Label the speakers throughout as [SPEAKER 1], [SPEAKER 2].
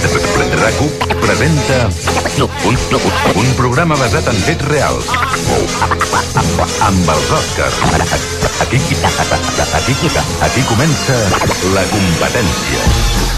[SPEAKER 1] RAC1 presenta un, un programa basat en fets reals amb els Oscars. Aquí, aquí, aquí comença la competència.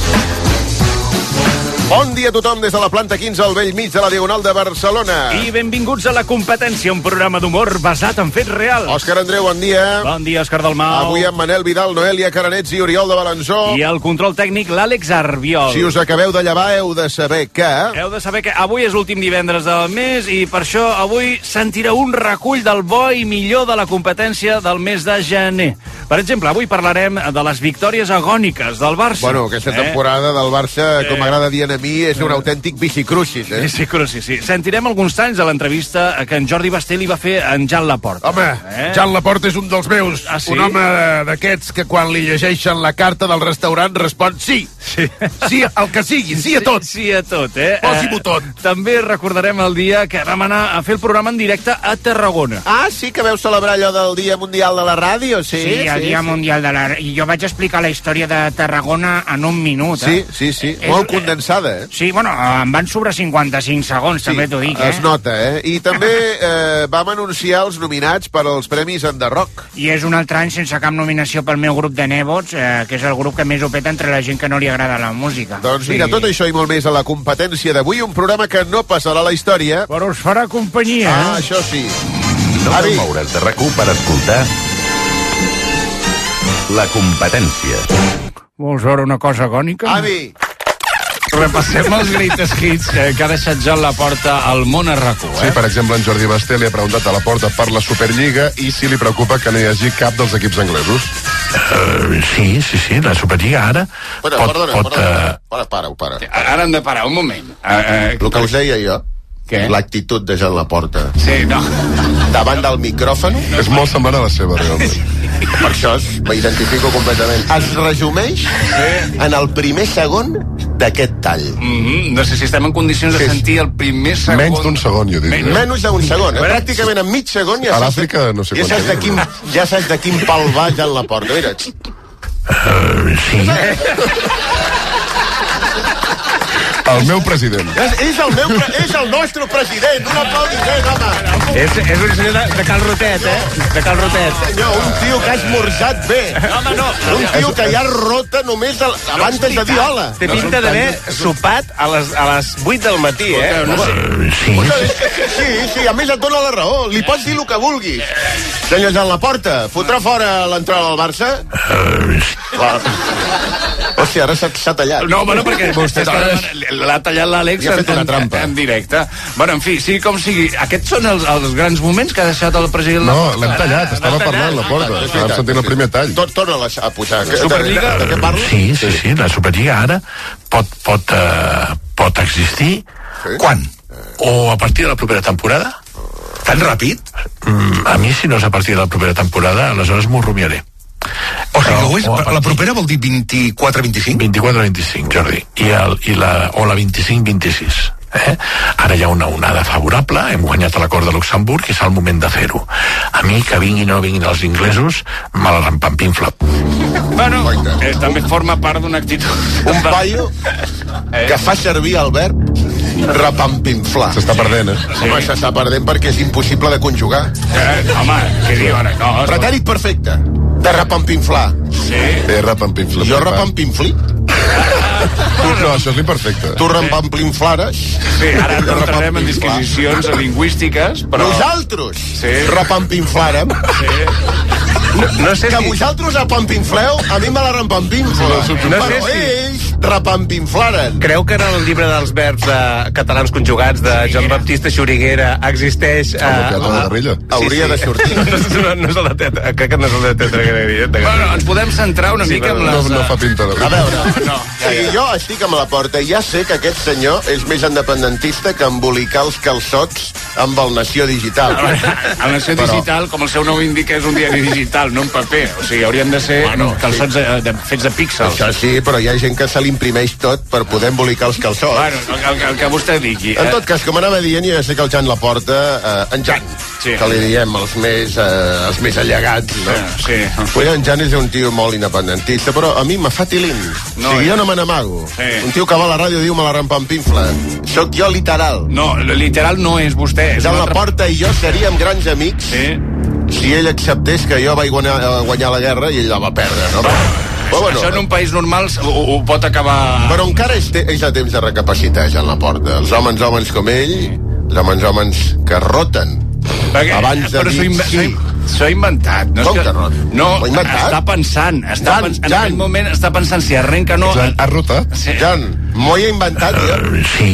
[SPEAKER 2] Bon dia a tothom des de la planta 15 al vell mig de la Diagonal de Barcelona. I...
[SPEAKER 3] I benvinguts a La Competència, un programa d'humor basat en fets reals.
[SPEAKER 2] Òscar Andreu, bon dia.
[SPEAKER 3] Bon dia, Òscar Dalmau.
[SPEAKER 2] Avui amb Manel Vidal, Noelia Caranets i Oriol de Balanzó.
[SPEAKER 3] I el control tècnic, l'Àlex Arbiol.
[SPEAKER 2] Si us acabeu de llevar, heu de saber que...
[SPEAKER 3] Heu de saber que avui és l'últim divendres del mes i per això avui sentireu un recull del bo i millor de la competència del mes de gener. Per exemple, avui parlarem de les victòries agòniques del Barça. Eh?
[SPEAKER 2] Bueno, aquesta temporada del Barça, com m'agrada dir a mi, és un autèntic bicicrucis, eh?
[SPEAKER 3] Sí, sí, però sí, sí. Sentirem alguns talls de l'entrevista que en Jordi Basté li va fer a en Jan Laporta.
[SPEAKER 4] Home, eh? Jan Laporta és un dels meus.
[SPEAKER 3] Ah, sí?
[SPEAKER 4] Un home d'aquests que quan li llegeixen la carta del restaurant respon sí. Sí. Sí, al que sigui, sí a tot.
[SPEAKER 3] Sí, sí a tot, eh?
[SPEAKER 4] Posi-m'ho
[SPEAKER 3] Eh,
[SPEAKER 4] tot.
[SPEAKER 3] També recordarem el dia que vam anar a fer el programa en directe a Tarragona.
[SPEAKER 2] Ah, sí que veu celebrar allò del Dia Mundial de la Ràdio, sí?
[SPEAKER 5] Sí, el Dia Mundial de la... I jo vaig explicar la història de Tarragona en un minut,
[SPEAKER 2] Sí,
[SPEAKER 5] eh?
[SPEAKER 2] sí, sí.
[SPEAKER 5] És-
[SPEAKER 2] Molt condensada, eh?
[SPEAKER 5] Sí, bueno, em van sobre 55 segons,
[SPEAKER 2] Sí,
[SPEAKER 5] també t'ho dic, eh?
[SPEAKER 2] es nota, eh? I també eh, vam anunciar els nominats per als Premis Enderroc.
[SPEAKER 5] I és un altre any sense cap nominació pel meu grup de nebots, eh, que és el grup que més ho peta entre la gent que no li agrada la música.
[SPEAKER 2] Doncs mira,
[SPEAKER 5] Sí.
[SPEAKER 2] tot això i molt més a la competència d'avui, un programa que no passarà a la història,
[SPEAKER 5] Però us farà companyia,
[SPEAKER 2] Ah,
[SPEAKER 5] eh?
[SPEAKER 2] això sí.
[SPEAKER 1] No
[SPEAKER 2] Avi.
[SPEAKER 1] te'n mouràs de RAC1 per escoltar la competència.
[SPEAKER 5] Vols veure una cosa agònica?
[SPEAKER 2] Avi,
[SPEAKER 3] Repassem els greatest hits que, que ha deixat Jan Laporta al món a rac
[SPEAKER 6] Sí, per exemple, en Jordi Basté li ha preguntat a la porta per la Superliga i si li preocupa que no hi hagi cap dels equips anglesos.
[SPEAKER 1] Eh, Sí, sí, sí, la Superliga ara
[SPEAKER 2] perdona, pot, perdona, pot,
[SPEAKER 6] eh,
[SPEAKER 2] perdona. Para, para, para.
[SPEAKER 3] Ara hem de parar, un moment. Uh,
[SPEAKER 2] El que us deia jo,
[SPEAKER 3] Què?
[SPEAKER 2] l'actitud de Jan Laporta.
[SPEAKER 3] sí, no.
[SPEAKER 2] Davant del micròfon,
[SPEAKER 6] És molt semblant a la seva, realment.
[SPEAKER 2] per això es- m'identifico completament. Es resumeix en el primer segon d'aquest tall.
[SPEAKER 3] Mm -hmm. No sé si estem en condicions de
[SPEAKER 2] Sí, sí.
[SPEAKER 3] sentir el primer segon.
[SPEAKER 6] Menys d'un segon, jo dic. Eh?
[SPEAKER 2] Menys d'un segon, eh? pràcticament en mig segon ja
[SPEAKER 6] A
[SPEAKER 2] saps,
[SPEAKER 6] l'Àfrica, no sé
[SPEAKER 2] ja saps, de quin, ja saps de quin pal va Jan Laporta. Mira,
[SPEAKER 1] eh, Sí,
[SPEAKER 6] Eh, El meu president.
[SPEAKER 3] Eh,
[SPEAKER 2] és, és, el meu, pre- és el nostre president, un aplaudiment, home.
[SPEAKER 3] És, és un senyor de, de Cal Rotet, eh? De Cal Rotet.
[SPEAKER 2] Senyor, un tio que ha esmorzat bé.
[SPEAKER 3] Home, no.
[SPEAKER 2] Un tio que ja rota només el, abans de dir hola.
[SPEAKER 3] Té pinta d'haver sopat a les, a les 8 del matí, eh? No sé.
[SPEAKER 1] sí.
[SPEAKER 2] Sí, sí, a més et dona la raó. Li pots dir el que vulguis. Senyor Jan Laporta, fotrà fora l'entrada del Barça? Clar. Hòstia, ara s'ha- s'ha tallat.
[SPEAKER 3] Ah. No, bueno, perquè vostè l'ha tallat l'Àlex
[SPEAKER 2] Li ha fet
[SPEAKER 3] en-
[SPEAKER 2] una
[SPEAKER 3] en-
[SPEAKER 2] trampa.
[SPEAKER 3] en directe. Bueno, en fi, sigui com sigui, aquests són els, els grans moments que ha deixat el president
[SPEAKER 6] No,
[SPEAKER 3] Laporta.
[SPEAKER 6] l'hem tallat, estava parlant la
[SPEAKER 3] Ah,
[SPEAKER 6] porta.
[SPEAKER 2] És veritat,
[SPEAKER 6] Estàvem sentint el primer tall.
[SPEAKER 2] Tot, torna-la a posar. Que-
[SPEAKER 3] Superliga?
[SPEAKER 2] De, de què parlo?
[SPEAKER 1] Sí, sí, sí, la Superliga ara pot, pot, eh, pot existir sí. quan? O a partir de la propera temporada? Tan ràpid? Mm, a mi, si no és a partir de la propera temporada, aleshores m'ho rumiaré. O sigui, o, és, la propera vol dir 24-25? 24-25, Jordi. I, el, i la, o la 25-26. Eh? Ara hi ha una onada favorable, hem guanyat a l'acord de Luxemburg i és el moment de fer-ho. A mi, que vinguin o no vinguin els inglesos, me la rampanpinfla.
[SPEAKER 3] Bueno, eh, també forma part d'una actitud.
[SPEAKER 2] Un paio que fa servir el verb repampinflar.
[SPEAKER 6] S'està perdent, eh?
[SPEAKER 2] Home, s'està perdent perquè és impossible de conjugar.
[SPEAKER 3] Eh, home, què diu ara? No, escolta,
[SPEAKER 2] Pretèrit perfecte, de repampinflar.
[SPEAKER 3] sí.
[SPEAKER 6] Eh, repampinfla.
[SPEAKER 2] Jo repampinfli,
[SPEAKER 6] No, això és l'imperfecte.
[SPEAKER 2] tu repampinflares,
[SPEAKER 3] Sí, ara no entrarem en disquisicions lingüístiques, però...
[SPEAKER 2] Nosaltres
[SPEAKER 3] Sí.
[SPEAKER 2] repampinflarem.
[SPEAKER 3] No, no sé
[SPEAKER 2] Que
[SPEAKER 3] si...
[SPEAKER 2] vosaltres repampinfleu, a mi me la repampinfla.
[SPEAKER 6] Sí, no,
[SPEAKER 2] Però
[SPEAKER 6] sí, sí.
[SPEAKER 2] ells repampinflaren.
[SPEAKER 7] Creu que en el llibre dels verbs eh, catalans conjugats de Joan Baptista Xuriguera existeix... Eh,
[SPEAKER 6] Home, Teatre de
[SPEAKER 7] la-
[SPEAKER 6] Guerrilla.
[SPEAKER 2] Hauria de sortir.
[SPEAKER 7] No, no, no és el de teatre, crec que no és el de teatre Guerrilla. de
[SPEAKER 3] Bueno,
[SPEAKER 7] Guerrilla.
[SPEAKER 3] ens podem centrar una sí, mica en
[SPEAKER 6] No,
[SPEAKER 3] les...
[SPEAKER 6] no fa pinta de...
[SPEAKER 2] A veure, no, ja, ja. jo estic amb la porta i ja sé que aquest senyor és més independentista que embolicar els calçots amb el Nació Digital.
[SPEAKER 3] A la nació digital, com el seu nom indica, és un diari digital, no en paper. O sigui, haurien de ser bueno, calçots de, de, fets de píxels.
[SPEAKER 2] Això sí, però hi ha gent que se l'imprimeix tot per poder embolicar els calçots.
[SPEAKER 3] Bueno, el, el, el que vostè digui. eh?
[SPEAKER 2] En tot cas, com anava dient, jo ja sé que el Jan Laporta, eh, en Jan,
[SPEAKER 3] Sí.
[SPEAKER 2] sí. que li diem els més, eh, els més allegats, no?
[SPEAKER 3] Ah, Sí.
[SPEAKER 2] Pues en Jan és un tio molt independentista, però a mi me fa tilint. No,
[SPEAKER 3] No,
[SPEAKER 2] o sigui,
[SPEAKER 3] eh?
[SPEAKER 2] jo no me n'amago.
[SPEAKER 3] Sí.
[SPEAKER 2] Un tio que va a la ràdio diu me la rempampinfla. Soc jo literal.
[SPEAKER 3] No, literal no és vostè. És
[SPEAKER 2] Jan
[SPEAKER 3] un altre-
[SPEAKER 2] Laporta i jo seríem grans amics
[SPEAKER 3] Sí.
[SPEAKER 2] si ell acceptés que jo vaig guanyar, eh, guanyar la guerra i ell la va perdre, no? Però, eh.
[SPEAKER 3] Bueno, Això en un país normal ho, ho pot acabar...
[SPEAKER 2] Però encara és, te- és a temps de recapacitar, Jan Laporta. Els homes, homes com ell, els homes, homes que roten.
[SPEAKER 3] Perquè-
[SPEAKER 2] Abans de
[SPEAKER 3] però s'ho
[SPEAKER 2] dir
[SPEAKER 3] inve-
[SPEAKER 2] sí.
[SPEAKER 3] s'ho- S'ho ha inventat. No, és
[SPEAKER 2] Com que no?
[SPEAKER 3] no
[SPEAKER 2] Ho ha inventat?
[SPEAKER 3] està pensant. Està
[SPEAKER 2] Jan,
[SPEAKER 3] pens... En
[SPEAKER 2] Jan.
[SPEAKER 3] aquest moment està pensant si arrenca o no...
[SPEAKER 6] Jan, has rotat?
[SPEAKER 3] Sí.
[SPEAKER 2] Jan, m'ho he inventat, jo.
[SPEAKER 1] Sí.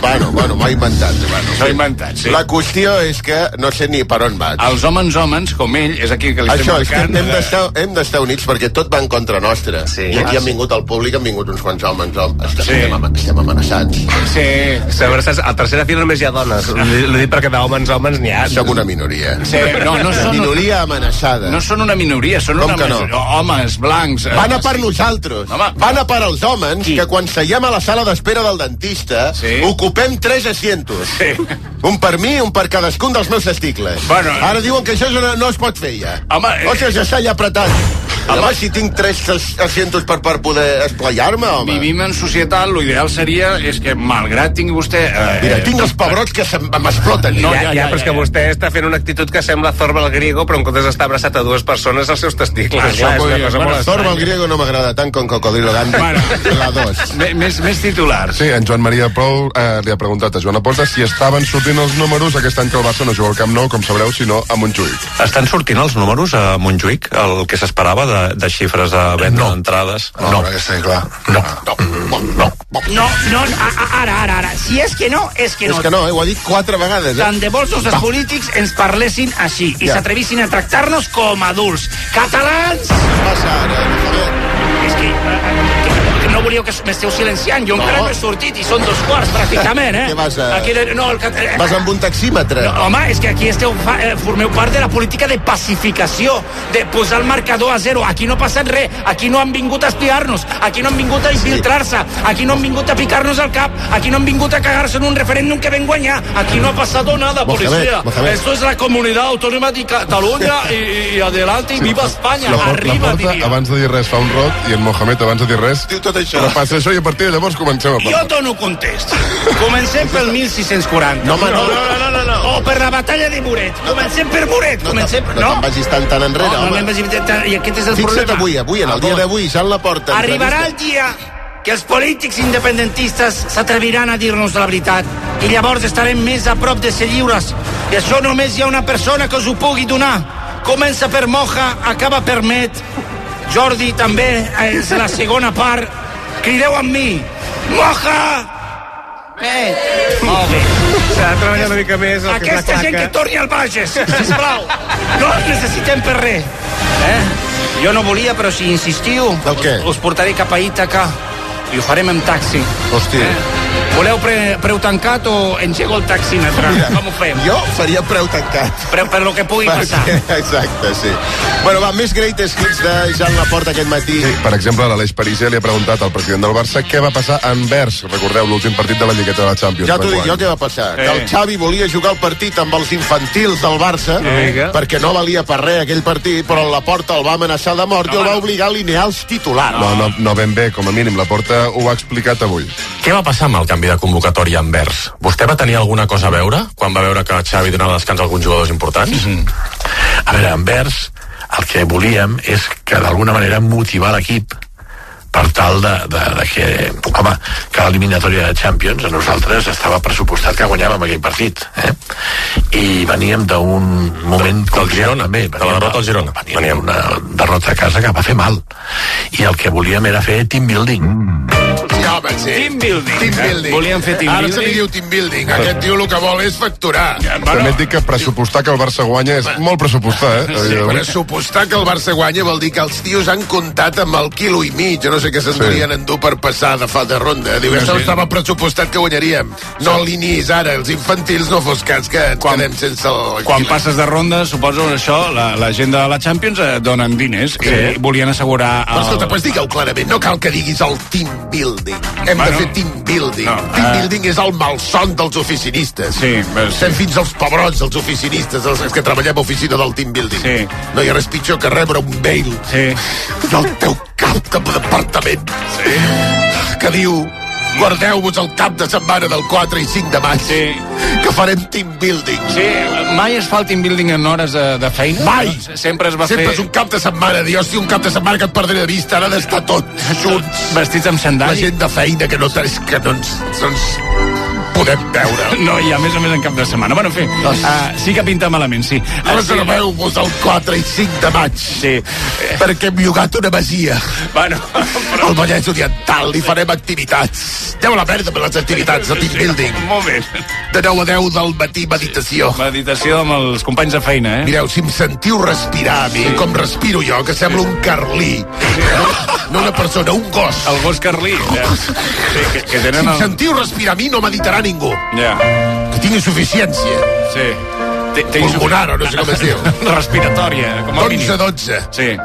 [SPEAKER 2] bueno, bueno, m'ho he inventat. Bueno.
[SPEAKER 3] S'ho ha inventat, sí.
[SPEAKER 2] La qüestió és que no sé ni per on vaig.
[SPEAKER 3] Els homes homes, com ell, és aquí que li estem
[SPEAKER 2] Això, és que
[SPEAKER 3] marcant.
[SPEAKER 2] hem d'estar
[SPEAKER 3] eh.
[SPEAKER 2] hem d'estar units perquè tot va en contra nostra.
[SPEAKER 7] Sí.
[SPEAKER 2] I aquí han vingut al públic, han vingut uns quants homes. homes. Estem,
[SPEAKER 3] Sí.
[SPEAKER 2] estem, ama- estem amenaçats.
[SPEAKER 3] Sí.
[SPEAKER 7] S'abraces- A tercera fila només hi ha dones. L'he l'he dit perquè d'hòmens, hòmens n'hi ha.
[SPEAKER 2] Som una minoria.
[SPEAKER 3] sí. No, no
[SPEAKER 2] Una
[SPEAKER 3] són,
[SPEAKER 2] minoria amenaçada.
[SPEAKER 3] no són una minoria, són
[SPEAKER 2] Com
[SPEAKER 3] una
[SPEAKER 2] que no?
[SPEAKER 3] majoria. Homes, blancs... eh,
[SPEAKER 2] Van a per nosaltres.
[SPEAKER 3] Home.
[SPEAKER 2] Van a per els homes que quan seiem a la sala d'espera del dentista
[SPEAKER 3] Sí.
[SPEAKER 2] ocupem tres asientos.
[SPEAKER 3] Sí.
[SPEAKER 2] Un per mi, un per cadascun dels meus testicles.
[SPEAKER 3] Bueno, eh.
[SPEAKER 2] Ara diuen que això és una, no es pot fer ja.
[SPEAKER 3] Home, eh.
[SPEAKER 2] Ostres, ja està allà apretat. Home, si tinc tres as- asientos per, per poder esplayar-me, home.
[SPEAKER 3] Vivim en societat, l'ideal seria és que, malgrat tingui vostè... Eh,
[SPEAKER 2] Mira, tinc els pebrots que se'm- m'exploten.
[SPEAKER 3] No,
[SPEAKER 7] Ja,
[SPEAKER 2] ja.
[SPEAKER 7] ja,
[SPEAKER 3] ja,
[SPEAKER 7] però és
[SPEAKER 3] ja,
[SPEAKER 7] que
[SPEAKER 3] ja.
[SPEAKER 7] vostè està fent una actitud que sembla Zorba el Griego, però en comptes d'estar abraçat a dues persones, als seus testicles.
[SPEAKER 2] Ah,
[SPEAKER 3] Clar, això
[SPEAKER 7] Clar, és
[SPEAKER 3] vull
[SPEAKER 7] una
[SPEAKER 3] dir,
[SPEAKER 7] cosa
[SPEAKER 3] bueno,
[SPEAKER 7] molt
[SPEAKER 2] Torba
[SPEAKER 7] estranya.
[SPEAKER 2] el griego no m'agrada tant com Cocodrilo Gandhi.
[SPEAKER 3] Bueno.
[SPEAKER 2] La dos.
[SPEAKER 3] Mé- Més, més titulars.
[SPEAKER 6] Sí, en Joan Maria Prou eh, li ha preguntat a Joan Aporta si estaven sortint els números aquest any que el Barça no juga al Camp Nou, com sabreu, sinó a Montjuïc.
[SPEAKER 8] Estan sortint els números a Montjuïc, el que s'esperava de, de xifres de venda no. d'entrades?
[SPEAKER 6] No, no. està clar.
[SPEAKER 8] No. no, no.
[SPEAKER 5] No, no, a, a, ara, ara, ara. Si és que no, és que
[SPEAKER 2] És
[SPEAKER 5] no.
[SPEAKER 2] que no, eh? ho ha dit quatre vegades. Eh?
[SPEAKER 5] Tant de vols els polítics ens parlessin així i
[SPEAKER 2] Ja.
[SPEAKER 5] s'atrevissin a tractar-nos com adults. Catalans!
[SPEAKER 2] Què passa ara? Mohamed?
[SPEAKER 5] És que, eh, que, que no volíeu que m'esteu silenciant. Jo encara no he sortit i són dos quarts, pràcticament, eh?
[SPEAKER 2] Què vas a-
[SPEAKER 5] Aquí, de- no, el, cat- eh,
[SPEAKER 2] Vas amb un taxímetre.
[SPEAKER 5] No, Eh, home, és que aquí esteu, fa, eh, formeu part de la política de pacificació, de posar el marcador a zero. Aquí no ha passat res, aquí no han vingut a espiar-nos, aquí no han vingut a infiltrar-se, aquí no han vingut a picar-nos al cap, aquí no han vingut a cagar-se en un referèndum que ven guanyar, aquí no ha passat nada,
[SPEAKER 2] Mohamed,
[SPEAKER 5] policia.
[SPEAKER 2] Mohamed.
[SPEAKER 5] Esto es la comunidad autónoma de Catalunya y, y adelante y viva España,
[SPEAKER 6] La, por- la
[SPEAKER 5] arriba,
[SPEAKER 6] porta,
[SPEAKER 5] diria.
[SPEAKER 6] abans de dir res, fa un rot, i en Mohamed, abans de dir res,
[SPEAKER 2] Diu tot això.
[SPEAKER 6] repassa això i a partir de llavors comencem a
[SPEAKER 5] Jo
[SPEAKER 6] parlar.
[SPEAKER 5] dono contest. Comencem pel 1640.
[SPEAKER 2] No, home, no, no, no, no, no.
[SPEAKER 5] O per la batalla de Muret. Comencem per Muret.
[SPEAKER 2] No,
[SPEAKER 5] Comencem...
[SPEAKER 2] no, no te'n vagis tan, tan enrere,
[SPEAKER 5] no, no,
[SPEAKER 2] home.
[SPEAKER 5] anem precipitant, I aquest és el
[SPEAKER 2] Fixa't
[SPEAKER 5] problema. Ah,
[SPEAKER 2] avui, avui, en el dia d'avui, Jan Laporta.
[SPEAKER 5] Arribarà el dia que els polítics independentistes s'atreviran a dir-nos la veritat i llavors estarem més a prop de ser lliures. I això només hi ha una persona que us ho pugui donar. Comença per Moja, acaba per Met. Jordi també eh, és la segona part. Crideu amb mi. Moja! Met! Molt bé.
[SPEAKER 7] S'ha de treballar una mica més el que és la
[SPEAKER 5] Aquesta gent
[SPEAKER 7] claca.
[SPEAKER 5] que torni al Bages, sisplau. No els necessitem per res. Eh? Jo no volia, però si insistiu,
[SPEAKER 2] Del què?
[SPEAKER 5] us, us portaré cap a Ítaca i ho farem amb taxi. Eh?
[SPEAKER 2] Hosti.
[SPEAKER 5] Voleu pre preu tancat o engego el taxi en atrás?
[SPEAKER 2] Mira,
[SPEAKER 5] Com ho fem?
[SPEAKER 2] Jo faria preu tancat.
[SPEAKER 5] Per, per lo que pugui passar.
[SPEAKER 2] Exacte, sí. Bueno, va, més great escrits de Jan Laporta aquest matí.
[SPEAKER 6] Sí, per exemple, l'Aleix Parisia li ha preguntat al president del Barça què va passar a Anvers, recordeu l'últim partit de la Lligueta de la Champions.
[SPEAKER 2] Ja t'ho dic,
[SPEAKER 6] d'enguany.
[SPEAKER 2] jo què va passar? Que el
[SPEAKER 3] Eh.
[SPEAKER 2] Xavi volia jugar el partit amb els infantils del Barça
[SPEAKER 7] Vinga.
[SPEAKER 2] perquè no valia per res aquell partit, però la porta el va amenaçar de mort i el va obligar a alinear els titulars.
[SPEAKER 6] No, no, no ben bé, com a mínim. La porta ho ha explicat avui.
[SPEAKER 8] Què va passar amb el canvi de convocatòria a Anvers? Vostè va tenir alguna cosa a veure quan va veure que Xavi donava descans a alguns jugadors importants?
[SPEAKER 1] Mhm.
[SPEAKER 8] Mm -hmm.
[SPEAKER 1] A veure, envers, el que volíem és que d'alguna manera motivar l'equip per tal de, de, de que, home, que l'eliminatòria de Champions a nosaltres estava pressupostat que guanyàvem aquell partit eh? i veníem d'un moment del, del Girona, també, de la derrota al Girona veníem d'una derrota a casa que va fer mal i el que volíem era fer team building
[SPEAKER 4] Sí, home, sí.
[SPEAKER 3] Team building.
[SPEAKER 4] Team building.
[SPEAKER 3] Volíem fer team
[SPEAKER 4] Ara se li
[SPEAKER 3] building.
[SPEAKER 4] diu team building. Aquest tio el que vol és facturar.
[SPEAKER 6] També et dic que pressupostar que el Barça guanya és molt pressupostar, eh?
[SPEAKER 4] Però
[SPEAKER 6] Evidentment.
[SPEAKER 4] supostar que el Barça guanya vol dir que els tios han comptat amb el quilo i mig, o no sé què s'endurien sí. a endur per passar de falta de ronda. Diu, això sí. estava pressupostat que guanyaríem. No l'inís, ara, els infantils, no fos cas que ens
[SPEAKER 3] Quan-
[SPEAKER 4] quedem sense el...
[SPEAKER 3] Quan
[SPEAKER 4] quilo.
[SPEAKER 3] passes de ronda, suposo que això, la, la gent de la Champions eh, donen diners sí. i volien assegurar...
[SPEAKER 4] Però escolta, pues digueu clarament, no cal que diguis el team building. Hem bueno,
[SPEAKER 3] Bueno,
[SPEAKER 4] de fer team building.
[SPEAKER 3] no,
[SPEAKER 4] No, team
[SPEAKER 3] eh.
[SPEAKER 4] building és el malson dels oficinistes.
[SPEAKER 3] Sí, però sí.
[SPEAKER 4] Estem fins als pebrots, els oficinistes, els els que treballem a oficina del team building.
[SPEAKER 3] Sí.
[SPEAKER 4] No hi ha res pitjor que rebre un mail
[SPEAKER 3] Sí.
[SPEAKER 4] del teu cap de departament sí. que diu guardeu-vos el cap de setmana del 4 i 5 de maig
[SPEAKER 3] Sí.
[SPEAKER 4] que farem team building.
[SPEAKER 3] Sí, mai es fa el team building en hores de, de feina?
[SPEAKER 4] Mai!
[SPEAKER 3] Sempre es va
[SPEAKER 4] Sempre
[SPEAKER 3] fer...
[SPEAKER 4] és un cap de setmana, dir, hòstia, un cap de setmana que et perdré de vista, ara ha d'estar tots junts.
[SPEAKER 3] Vestits amb
[SPEAKER 4] la
[SPEAKER 3] sandali.
[SPEAKER 4] gent de feina que no, és que no ens, no ens podem veure. Doncs-
[SPEAKER 3] No, i a més a més en cap de setmana. Bueno, en fi, uh, sí que pinta malament, sí. Ah, sí.
[SPEAKER 4] Reserveu-vos el 4 i 5 de maig
[SPEAKER 3] Sí.
[SPEAKER 4] perquè hem llogat una masia
[SPEAKER 3] Bueno,
[SPEAKER 4] al Vallès Oriental i farem activitats. Deu la merda per les activitats de team building.
[SPEAKER 3] molt bé.
[SPEAKER 4] De 9 a 10 del matí, meditació.
[SPEAKER 3] Meditació amb els companys de feina, eh?
[SPEAKER 4] Mireu, si em sentiu respirar a mi, sí. com respiro jo, que sembla un carlí. No, no una persona, un gos.
[SPEAKER 3] El gos carlí. Ja. Sí, que, que
[SPEAKER 4] Si
[SPEAKER 3] tenen...
[SPEAKER 4] em
[SPEAKER 3] El...
[SPEAKER 4] sentiu respirar a mi, no meditarà ningú.
[SPEAKER 3] Ja,
[SPEAKER 4] Que tinc insuficiència.
[SPEAKER 3] sí. Té, té
[SPEAKER 4] Pulmonar, o no sé com es diu.
[SPEAKER 3] Respiratòria, eh, com a
[SPEAKER 4] 11
[SPEAKER 3] mínim.
[SPEAKER 4] 12.
[SPEAKER 3] Sí,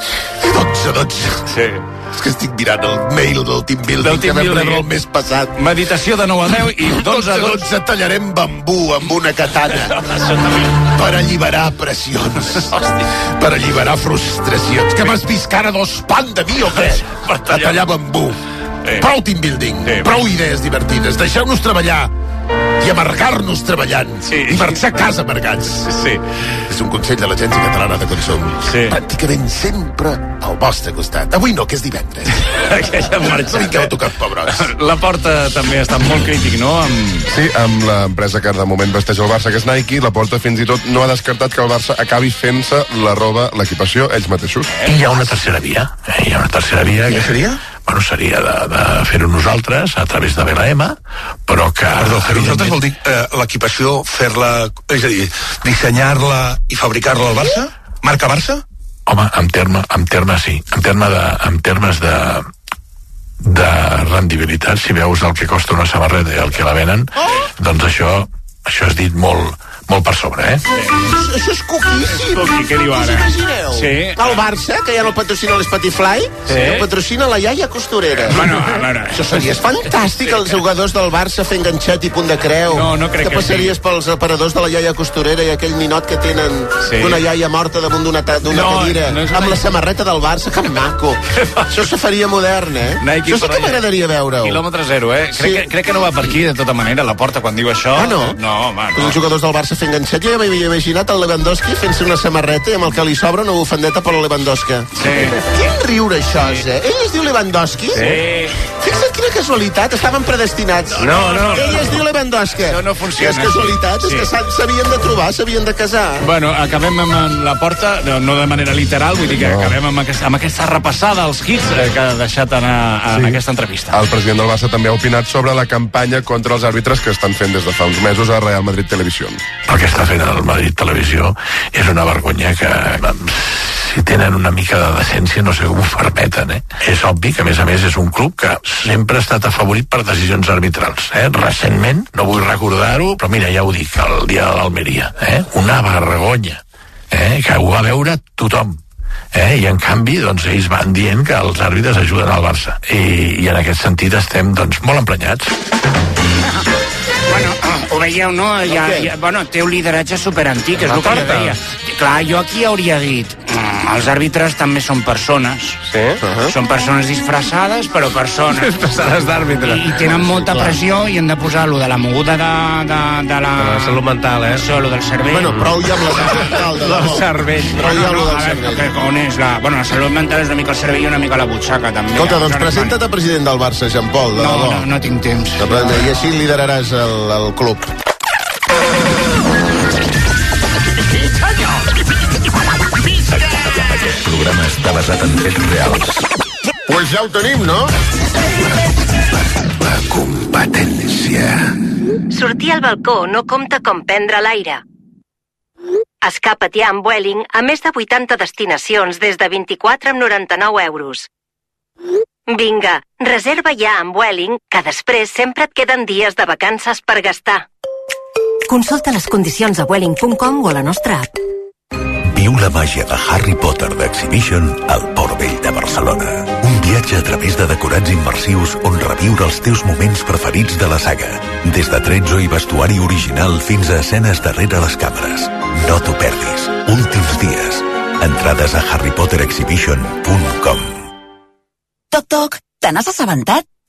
[SPEAKER 4] 12 12.
[SPEAKER 3] sí.
[SPEAKER 4] És que estic mirant el mail del team
[SPEAKER 3] Del
[SPEAKER 4] building del
[SPEAKER 3] team
[SPEAKER 4] team que vam
[SPEAKER 3] building.
[SPEAKER 4] rebre el mes passat.
[SPEAKER 3] Meditació de 9 a 10 i
[SPEAKER 4] 12
[SPEAKER 3] 12 a 12.
[SPEAKER 4] 12 tallarem bambú amb una katana per alliberar pressions, per alliberar frustracions. Que m'has vist cara d'espant de mi o què? Per tallar bambú.
[SPEAKER 3] Eh.
[SPEAKER 4] Prou team building, prou idees divertides. Deixeu-nos treballar i amargar-nos treballant
[SPEAKER 3] Sí.
[SPEAKER 4] i marxar a casa amargats.
[SPEAKER 3] Sí.
[SPEAKER 4] És un consell de l'Agència Catalana de Consum.
[SPEAKER 3] Sí.
[SPEAKER 4] Pràcticament sempre al vostre costat. Avui no, que és divendres.
[SPEAKER 3] Que ja hem
[SPEAKER 4] No
[SPEAKER 3] marxat.
[SPEAKER 4] vingueu a tocar els pebrots.
[SPEAKER 3] La porta també ha estat molt crític, no? Amb...
[SPEAKER 6] Sí, amb l'empresa que de moment vesteix el Barça, que és Nike, la porta fins i tot no ha descartat que el Barça acabi fent-se la roba, l'equipació, ells mateixos.
[SPEAKER 1] I hi ha una tercera via. Eh? Hi ha una tercera via. Què seria? Bueno, seria de, de fer-ho nosaltres a través de BLM, però que...
[SPEAKER 9] Perdó, fer nosaltres
[SPEAKER 1] evidentment,
[SPEAKER 9] vol dir eh, l'equipació, fer-la... És a dir, dissenyar-la i fabricar-la al Barça? Marca Barça?
[SPEAKER 1] Home, en terme, en terme sí. En, terme de, en termes de de rendibilitat, si veus el que costa una samarreta i el que la venen, doncs això això has dit molt, molt per sobre, eh?
[SPEAKER 2] Això és coquíssim.
[SPEAKER 3] Escolti, què diu ara?
[SPEAKER 2] Us imagineu?
[SPEAKER 3] Sí.
[SPEAKER 2] El Barça, que ja no patrocina l'Spotify, sí. el patrocina la iaia costurera.
[SPEAKER 3] Bueno, a veure...
[SPEAKER 2] Això seria fantàstic, els jugadors del Barça fent ganxet i punt de creu.
[SPEAKER 3] No, no crec que
[SPEAKER 2] que passaries pels aparadors de la iaia costurera i aquell ninot que tenen
[SPEAKER 3] Sí.
[SPEAKER 2] d'una iaia morta damunt d'una ta- d'una
[SPEAKER 3] No,
[SPEAKER 2] cadira,
[SPEAKER 3] no és una-
[SPEAKER 2] amb la samarreta del Barça. Que maco. Això se faria modern, eh?
[SPEAKER 3] Nike
[SPEAKER 2] Això sí
[SPEAKER 3] per
[SPEAKER 2] que
[SPEAKER 3] allà.
[SPEAKER 2] m'agradaria veure-ho.
[SPEAKER 3] Quilòmetre zero, eh? Crec,
[SPEAKER 2] Sí.
[SPEAKER 3] que, crec que no va per aquí, de tota manera, la porta, quan diu això.
[SPEAKER 2] Ah, no?
[SPEAKER 3] No, home,
[SPEAKER 2] Els
[SPEAKER 3] no.
[SPEAKER 2] jugadors del Barça fent ganxet. Jo ja m'havia imaginat el Lewandowski fent-se una samarreta i amb el que li sobra una bufandeta per la Lewandowski.
[SPEAKER 3] Sí.
[SPEAKER 2] Quin riure això és, eh? Ell es diu Lewandowski?
[SPEAKER 3] Sí.
[SPEAKER 2] Fixa't quina casualitat, estaven predestinats.
[SPEAKER 3] No, no.
[SPEAKER 2] Ell es diu Lewandowski.
[SPEAKER 3] No, no funciona.
[SPEAKER 2] És casualitat, és
[SPEAKER 3] Sí.
[SPEAKER 2] que s'ha- s'havien de trobar, s'havien de casar.
[SPEAKER 3] Bueno, acabem amb en la porta, no, no de manera literal, vull dir que acabem amb aquesta, amb aquesta repassada als hits eh, que ha deixat anar en
[SPEAKER 6] Sí.
[SPEAKER 3] aquesta entrevista.
[SPEAKER 6] El president del Barça també ha opinat sobre la campanya contra els àrbitres que estan fent des de fa uns mesos a Real Madrid Televisió.
[SPEAKER 1] el que està fent el Madrid Televisió és una vergonya que em, si tenen una mica de decència no sé com ho permeten, eh? És obvi que a més a més és un club que sempre ha estat afavorit per decisions arbitrals, eh? Recentment, no vull recordar-ho, però mira, ja ho dic, el dia de l'Almeria, eh? Una vergonya, eh? Que ho va veure tothom. Eh? I en canvi, doncs, ells van dient que els àrbitres ajuden al Barça. I, i en aquest sentit estem doncs, molt emprenyats.
[SPEAKER 5] Bueno, ho veieu, no? Ja,
[SPEAKER 2] El què?
[SPEAKER 5] ja, bueno, té un lideratge superantic, és el que jo
[SPEAKER 3] porta.
[SPEAKER 5] deia. Clar, jo aquí hauria dit,
[SPEAKER 8] mm, els àrbitres també són persones.
[SPEAKER 1] Sí? Uh
[SPEAKER 8] Són persones disfressades, però persones.
[SPEAKER 1] Disfressades d'àrbitre.
[SPEAKER 8] I, I tenen molta
[SPEAKER 1] Sí, clar.
[SPEAKER 8] pressió i han de posar lo de la moguda de, de, de la...
[SPEAKER 1] De la salut mental, eh?
[SPEAKER 8] Això, lo del cervell.
[SPEAKER 1] Bueno, prou ja amb la salut
[SPEAKER 2] mental, de
[SPEAKER 1] debò. cervell.
[SPEAKER 8] Prou
[SPEAKER 2] ja
[SPEAKER 8] ja
[SPEAKER 2] amb
[SPEAKER 8] no,
[SPEAKER 2] lo
[SPEAKER 8] no,
[SPEAKER 2] del
[SPEAKER 8] a veure, que, on és la... Bueno, la salut mental és una mica el cervell i una mica la butxaca, també.
[SPEAKER 2] Escolta, doncs
[SPEAKER 8] Aleshores,
[SPEAKER 2] presenta't a president del Barça, Jean-Paul, de
[SPEAKER 8] No,
[SPEAKER 2] debò.
[SPEAKER 8] no, no tinc temps.
[SPEAKER 2] I així lideraràs el, el club.
[SPEAKER 10] Aquest programa està basat en fets reals.
[SPEAKER 2] Pues ja ho tenim, no?
[SPEAKER 10] La competència.
[SPEAKER 11] Sortir al balcó no compta com prendre l'aire. Escapa't ja amb Vueling a més de 80 destinacions des de 24 amb 99 euros. Vinga, reserva ja amb Vueling, que després sempre et queden dies de vacances per gastar.
[SPEAKER 12] Consulta les condicions a welling.com o a la nostra app.
[SPEAKER 13] Viu la màgia de Harry Potter d'Exhibition al Port Vell de Barcelona. Un viatge a través de decorats immersius on reviure els teus moments preferits de la saga. Des de tretzo i vestuari original fins a escenes darrere les càmeres. No t'ho perdis. Últims dies. Entrades a harrypoterexhibition.com
[SPEAKER 14] Toc, toc, te n'has assabentat?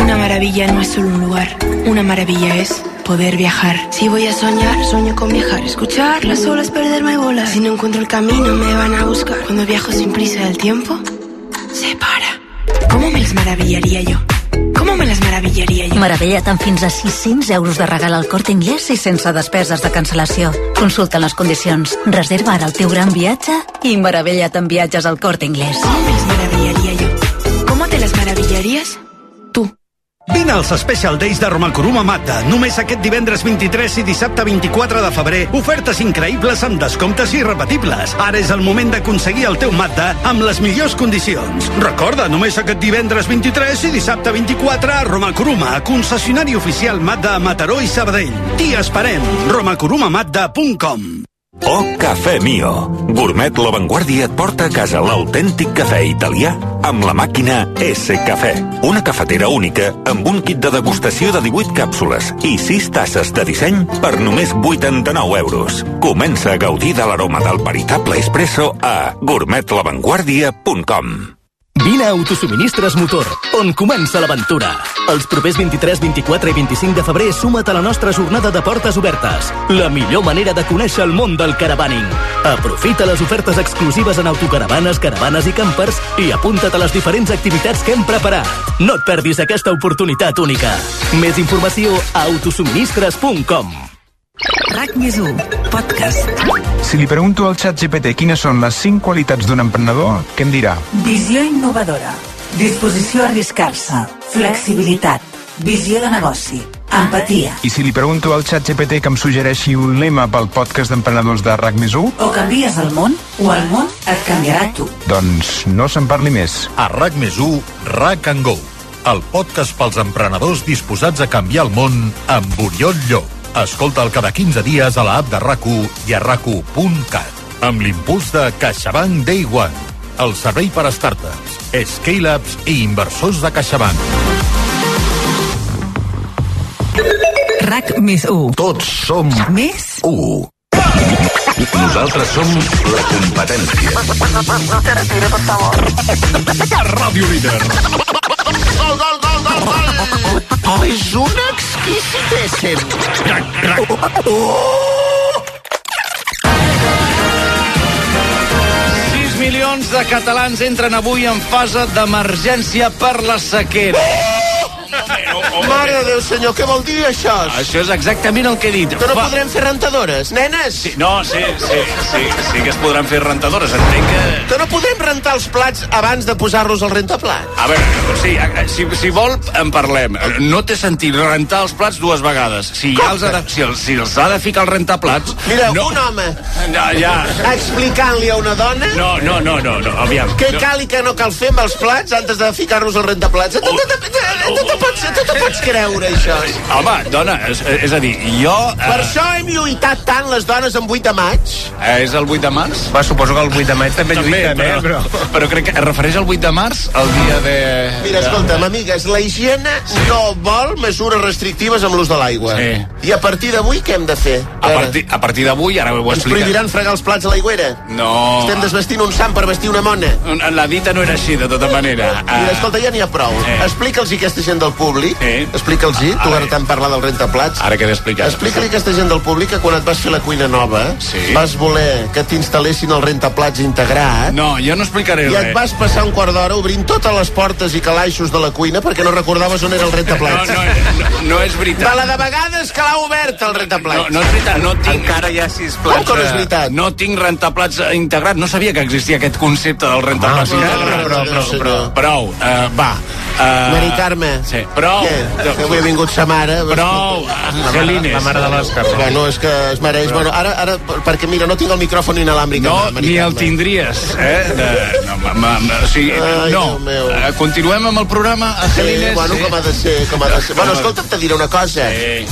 [SPEAKER 15] Una maravilla no es solo un lugar, una maravilla es poder viajar. Si voy a soñar, sueño con viajar, escuchar las olas, perderme y volar. Si no encuentro el camino, me van a buscar. Cuando viajo sin prisa, el tiempo se para. ¿Cómo me las maravillaría yo? ¿Cómo me las maravillaría yo?
[SPEAKER 16] Meravella't amb fins a 600 euros de regal al Corte Inglés i sense despeses de cancel·lació. Consulta les condicions. Reserva ara el teu gran viatge i meravella't amb viatges al Corte Inglés.
[SPEAKER 15] ¿Cómo te las maravillarías?
[SPEAKER 17] Vine als Special Days de Romacuruma Mata. Només aquest divendres 23 i dissabte 24 de febrer. Ofertes increïbles amb descomptes irrepetibles. Ara és el moment d'aconseguir el teu Mata amb les millors condicions. Recorda, només aquest divendres 23 i dissabte 24 a Romacuruma, concessionari oficial Mata a Mataró i Sabadell. T'hi esperem. romacurumamata.com
[SPEAKER 18] O Oh, Cafè Mio. Gourmet La Vanguardia et porta a casa l'autèntic cafè italià amb la màquina S Cafè. Una cafetera única amb un kit de degustació de 18 càpsules i 6 tasses de disseny per només 89 euros. Comença a gaudir de l'aroma del veritable espresso a gourmetlavanguardia.com.
[SPEAKER 19] Vine a Autosuministres Motor, on comença l'aventura. Els propers 23, 24 i 25 de febrer suma't a la nostra jornada de portes obertes. La millor manera de conèixer el món del caravaning. Aprofita les ofertes exclusives en autocaravanes, caravanes i campers i apunta't a les diferents activitats que hem preparat. No et perdis aquesta oportunitat única. Més informació a autosuministres.com
[SPEAKER 20] RAC més 1, podcast.
[SPEAKER 7] Si li pregunto al xat GPT quines són les 5 qualitats d'un emprenedor, què em dirà?
[SPEAKER 20] Visió innovadora. Disposició a arriscar-se. Flexibilitat. Visió de negoci. Empatia.
[SPEAKER 7] I si li pregunto al xat GPT que em suggereixi un lema pel podcast d'emprenedors de RAC més 1,
[SPEAKER 20] O canvies el món, o el món et canviarà a tu.
[SPEAKER 7] doncs no se'n parli més.
[SPEAKER 21] A RAC més 1, RAC and Go, el podcast pels emprenedors disposats a canviar el món amb Oriol Llop. Escolta'l cada 15 dies a l'app de rac i a rac amb l'impuls de CaixaBank Day One, el servei per a startups, scale-ups i inversors de CaixaBank.
[SPEAKER 20] RAC més 1.
[SPEAKER 21] Tots som
[SPEAKER 20] més
[SPEAKER 21] 1.
[SPEAKER 10] Nosaltres som la competència.
[SPEAKER 21] Ràdio Líder.
[SPEAKER 2] Gol, gol, gol, gol, gol! Oh, és un exquisitéssim. Crac, crac. Oh!
[SPEAKER 3] 6 milions de catalans entren avui en fase d'emergència per la sequera.
[SPEAKER 2] Mare de Déu, senyor, què vol dir això?
[SPEAKER 3] Això és exactament el que he dit.
[SPEAKER 2] Que no
[SPEAKER 3] Fa-
[SPEAKER 2] podrem fer rentadores, nenes? Sí,
[SPEAKER 3] No, sí, sí, sí, sí que es podran fer rentadores, entenc que...
[SPEAKER 2] Que no podem rentar els plats abans de posar-los al rentaplat.
[SPEAKER 3] A veure, sí, a- a- si, si vol, en parlem. No té sentit rentar els plats dues vegades. Si, ja els ha de, si, els, si els ha de ficar al rentaplats...
[SPEAKER 2] Mireu,
[SPEAKER 3] no,
[SPEAKER 2] no. un home
[SPEAKER 3] No, ja...
[SPEAKER 2] explicant-li a una dona
[SPEAKER 3] No, no, no, no, no aviam.
[SPEAKER 2] què
[SPEAKER 3] no.
[SPEAKER 2] cal i què no cal fer amb els plats antes de ficar-los al rentaplats. Tot, tot, tot, tot, tot, tot, Tu t'ho pots creure, això?
[SPEAKER 3] Home, dona, és, és a dir, jo...
[SPEAKER 2] Per això hem lluitat tant les dones amb 8 de maig.
[SPEAKER 3] Eh, és el 8 de març?
[SPEAKER 7] Va, suposo que el 8 de maig també, lluiten, eh, però...
[SPEAKER 3] Però crec que es refereix al 8 de març, el dia de...
[SPEAKER 2] Mira, escolta'm, amigues, la higiene no vol mesures restrictives amb l'ús de l'aigua.
[SPEAKER 3] Sí.
[SPEAKER 2] I a partir d'avui què hem de fer?
[SPEAKER 3] Eh, A partir, a partir d'avui, ara ho
[SPEAKER 2] Ens
[SPEAKER 3] explicaré.
[SPEAKER 2] prohibiran fregar els plats a l'aigüera?
[SPEAKER 3] No.
[SPEAKER 2] Estem desvestint un sant per vestir una mona?
[SPEAKER 3] La dita no era així, de tota manera.
[SPEAKER 2] Mira, escolta, ja n'hi ha prou.
[SPEAKER 3] Eh.
[SPEAKER 2] Explica'ls a aquesta gent del públic,
[SPEAKER 3] Eh.
[SPEAKER 2] explica'ls-hi, tu ara tant parlar del rentaplats,
[SPEAKER 3] Ara que he d'explicar.
[SPEAKER 2] Explica-li a aquesta gent del públic que quan et vas fer la cuina nova sí. vas voler que t'instal·lessin el rentaplats integrat
[SPEAKER 3] No, jo no explicaré
[SPEAKER 2] i
[SPEAKER 3] res.
[SPEAKER 2] eh? et vas passar un quart d'hora obrint totes les portes i calaixos de la cuina perquè no recordaves on era el rentaplats.
[SPEAKER 3] No, no, no, no és veritat.
[SPEAKER 2] De la de vegades que l'ha obert el rentaplats.
[SPEAKER 3] No, no és veritat, no tinc... Encara
[SPEAKER 7] hi ha sis
[SPEAKER 2] plats, Com que no és veritat?
[SPEAKER 3] No tinc rentaplats eh, integrat. No sabia que existia aquest concepte del rentaplats
[SPEAKER 2] Ah,
[SPEAKER 3] integrat.
[SPEAKER 2] però, però, però, però.
[SPEAKER 3] Prou, eh, va. eh,
[SPEAKER 2] Mari Carme.
[SPEAKER 3] Sí, prou.
[SPEAKER 2] Què? Que avui ha vingut sa mare. doncs,
[SPEAKER 3] Prou, Ah, Angelines. La mare de l'Òscar.
[SPEAKER 2] Bueno, és que es mereix... Bueno, ara, ara, perquè mira, no tinc el micròfon inalàmbric.
[SPEAKER 3] No,
[SPEAKER 2] amb la Mari
[SPEAKER 3] ni el
[SPEAKER 2] Carme.
[SPEAKER 3] tindries, eh? De... No, ma, ma, ma, o sigui,
[SPEAKER 2] Ai,
[SPEAKER 3] no.
[SPEAKER 2] Déu meu.
[SPEAKER 3] Eh, Continuem amb el programa, Angelines.
[SPEAKER 2] Sí, Eh, bueno, com ha de ser, com ha de ser. Bueno, escolta, te diré una cosa.
[SPEAKER 3] Sí.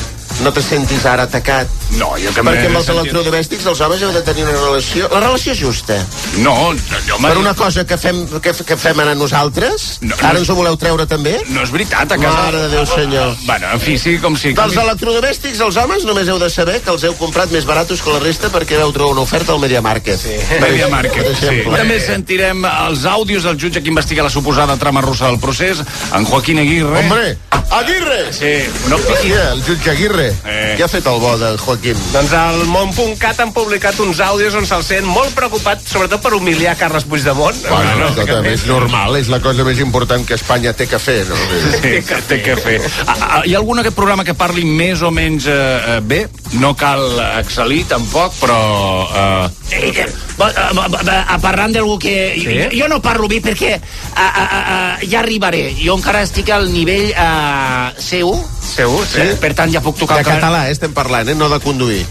[SPEAKER 2] No te sentis ara atacat.
[SPEAKER 3] No, jo que
[SPEAKER 2] Perquè amb els
[SPEAKER 3] sentit-
[SPEAKER 2] electrodomèstics els homes heu de tenir una relació... La relació justa.
[SPEAKER 3] No, jo
[SPEAKER 2] Per una cosa que fem, que, f- que fem anar nosaltres,
[SPEAKER 3] No, no.
[SPEAKER 2] ara ens ho voleu treure també?
[SPEAKER 3] No és veritat, a casa...
[SPEAKER 2] Mare de Déu, senyor.
[SPEAKER 3] Bueno, en fi, sí com sí.
[SPEAKER 2] Dels electrodomèstics, els homes només heu de saber que els heu comprat més baratos que la resta perquè veu trobar una oferta al Media Market. Sí.
[SPEAKER 3] Media Market, sí. També sentirem els àudios del jutge que investiga la suposada trama russa del procés, en Joaquín Aguirre.
[SPEAKER 2] Hombre, Aguirre!
[SPEAKER 3] Sí, no piqui.
[SPEAKER 2] Hòstia, el jutge Aguirre. Eh. Què ha fet el bo de Joaquim?
[SPEAKER 7] Doncs al món.cat han publicat uns àudios on se'l sent molt preocupat, sobretot per humiliar Carles Puigdemont.
[SPEAKER 6] Bueno, no, escolta, és normal, és la cosa més important que Espanya té que fer, no?
[SPEAKER 3] Sí, que té que fer. Ah, ah, Hi ha algun aquest programa que parli més o menys eh, eh, bé? No cal excel·lir, tampoc, però... Eh...
[SPEAKER 5] Eh, eh, va- va- va- va- Parlant d'algú que...
[SPEAKER 3] Sí?
[SPEAKER 5] Jo, jo no parlo bé perquè a, a, a, a, ja arribaré. Jo encara estic al nivell a, C1.
[SPEAKER 7] C1, sí.
[SPEAKER 5] Per tant, ja puc tocar
[SPEAKER 2] De català, eh, estem parlant, eh? No de conduir.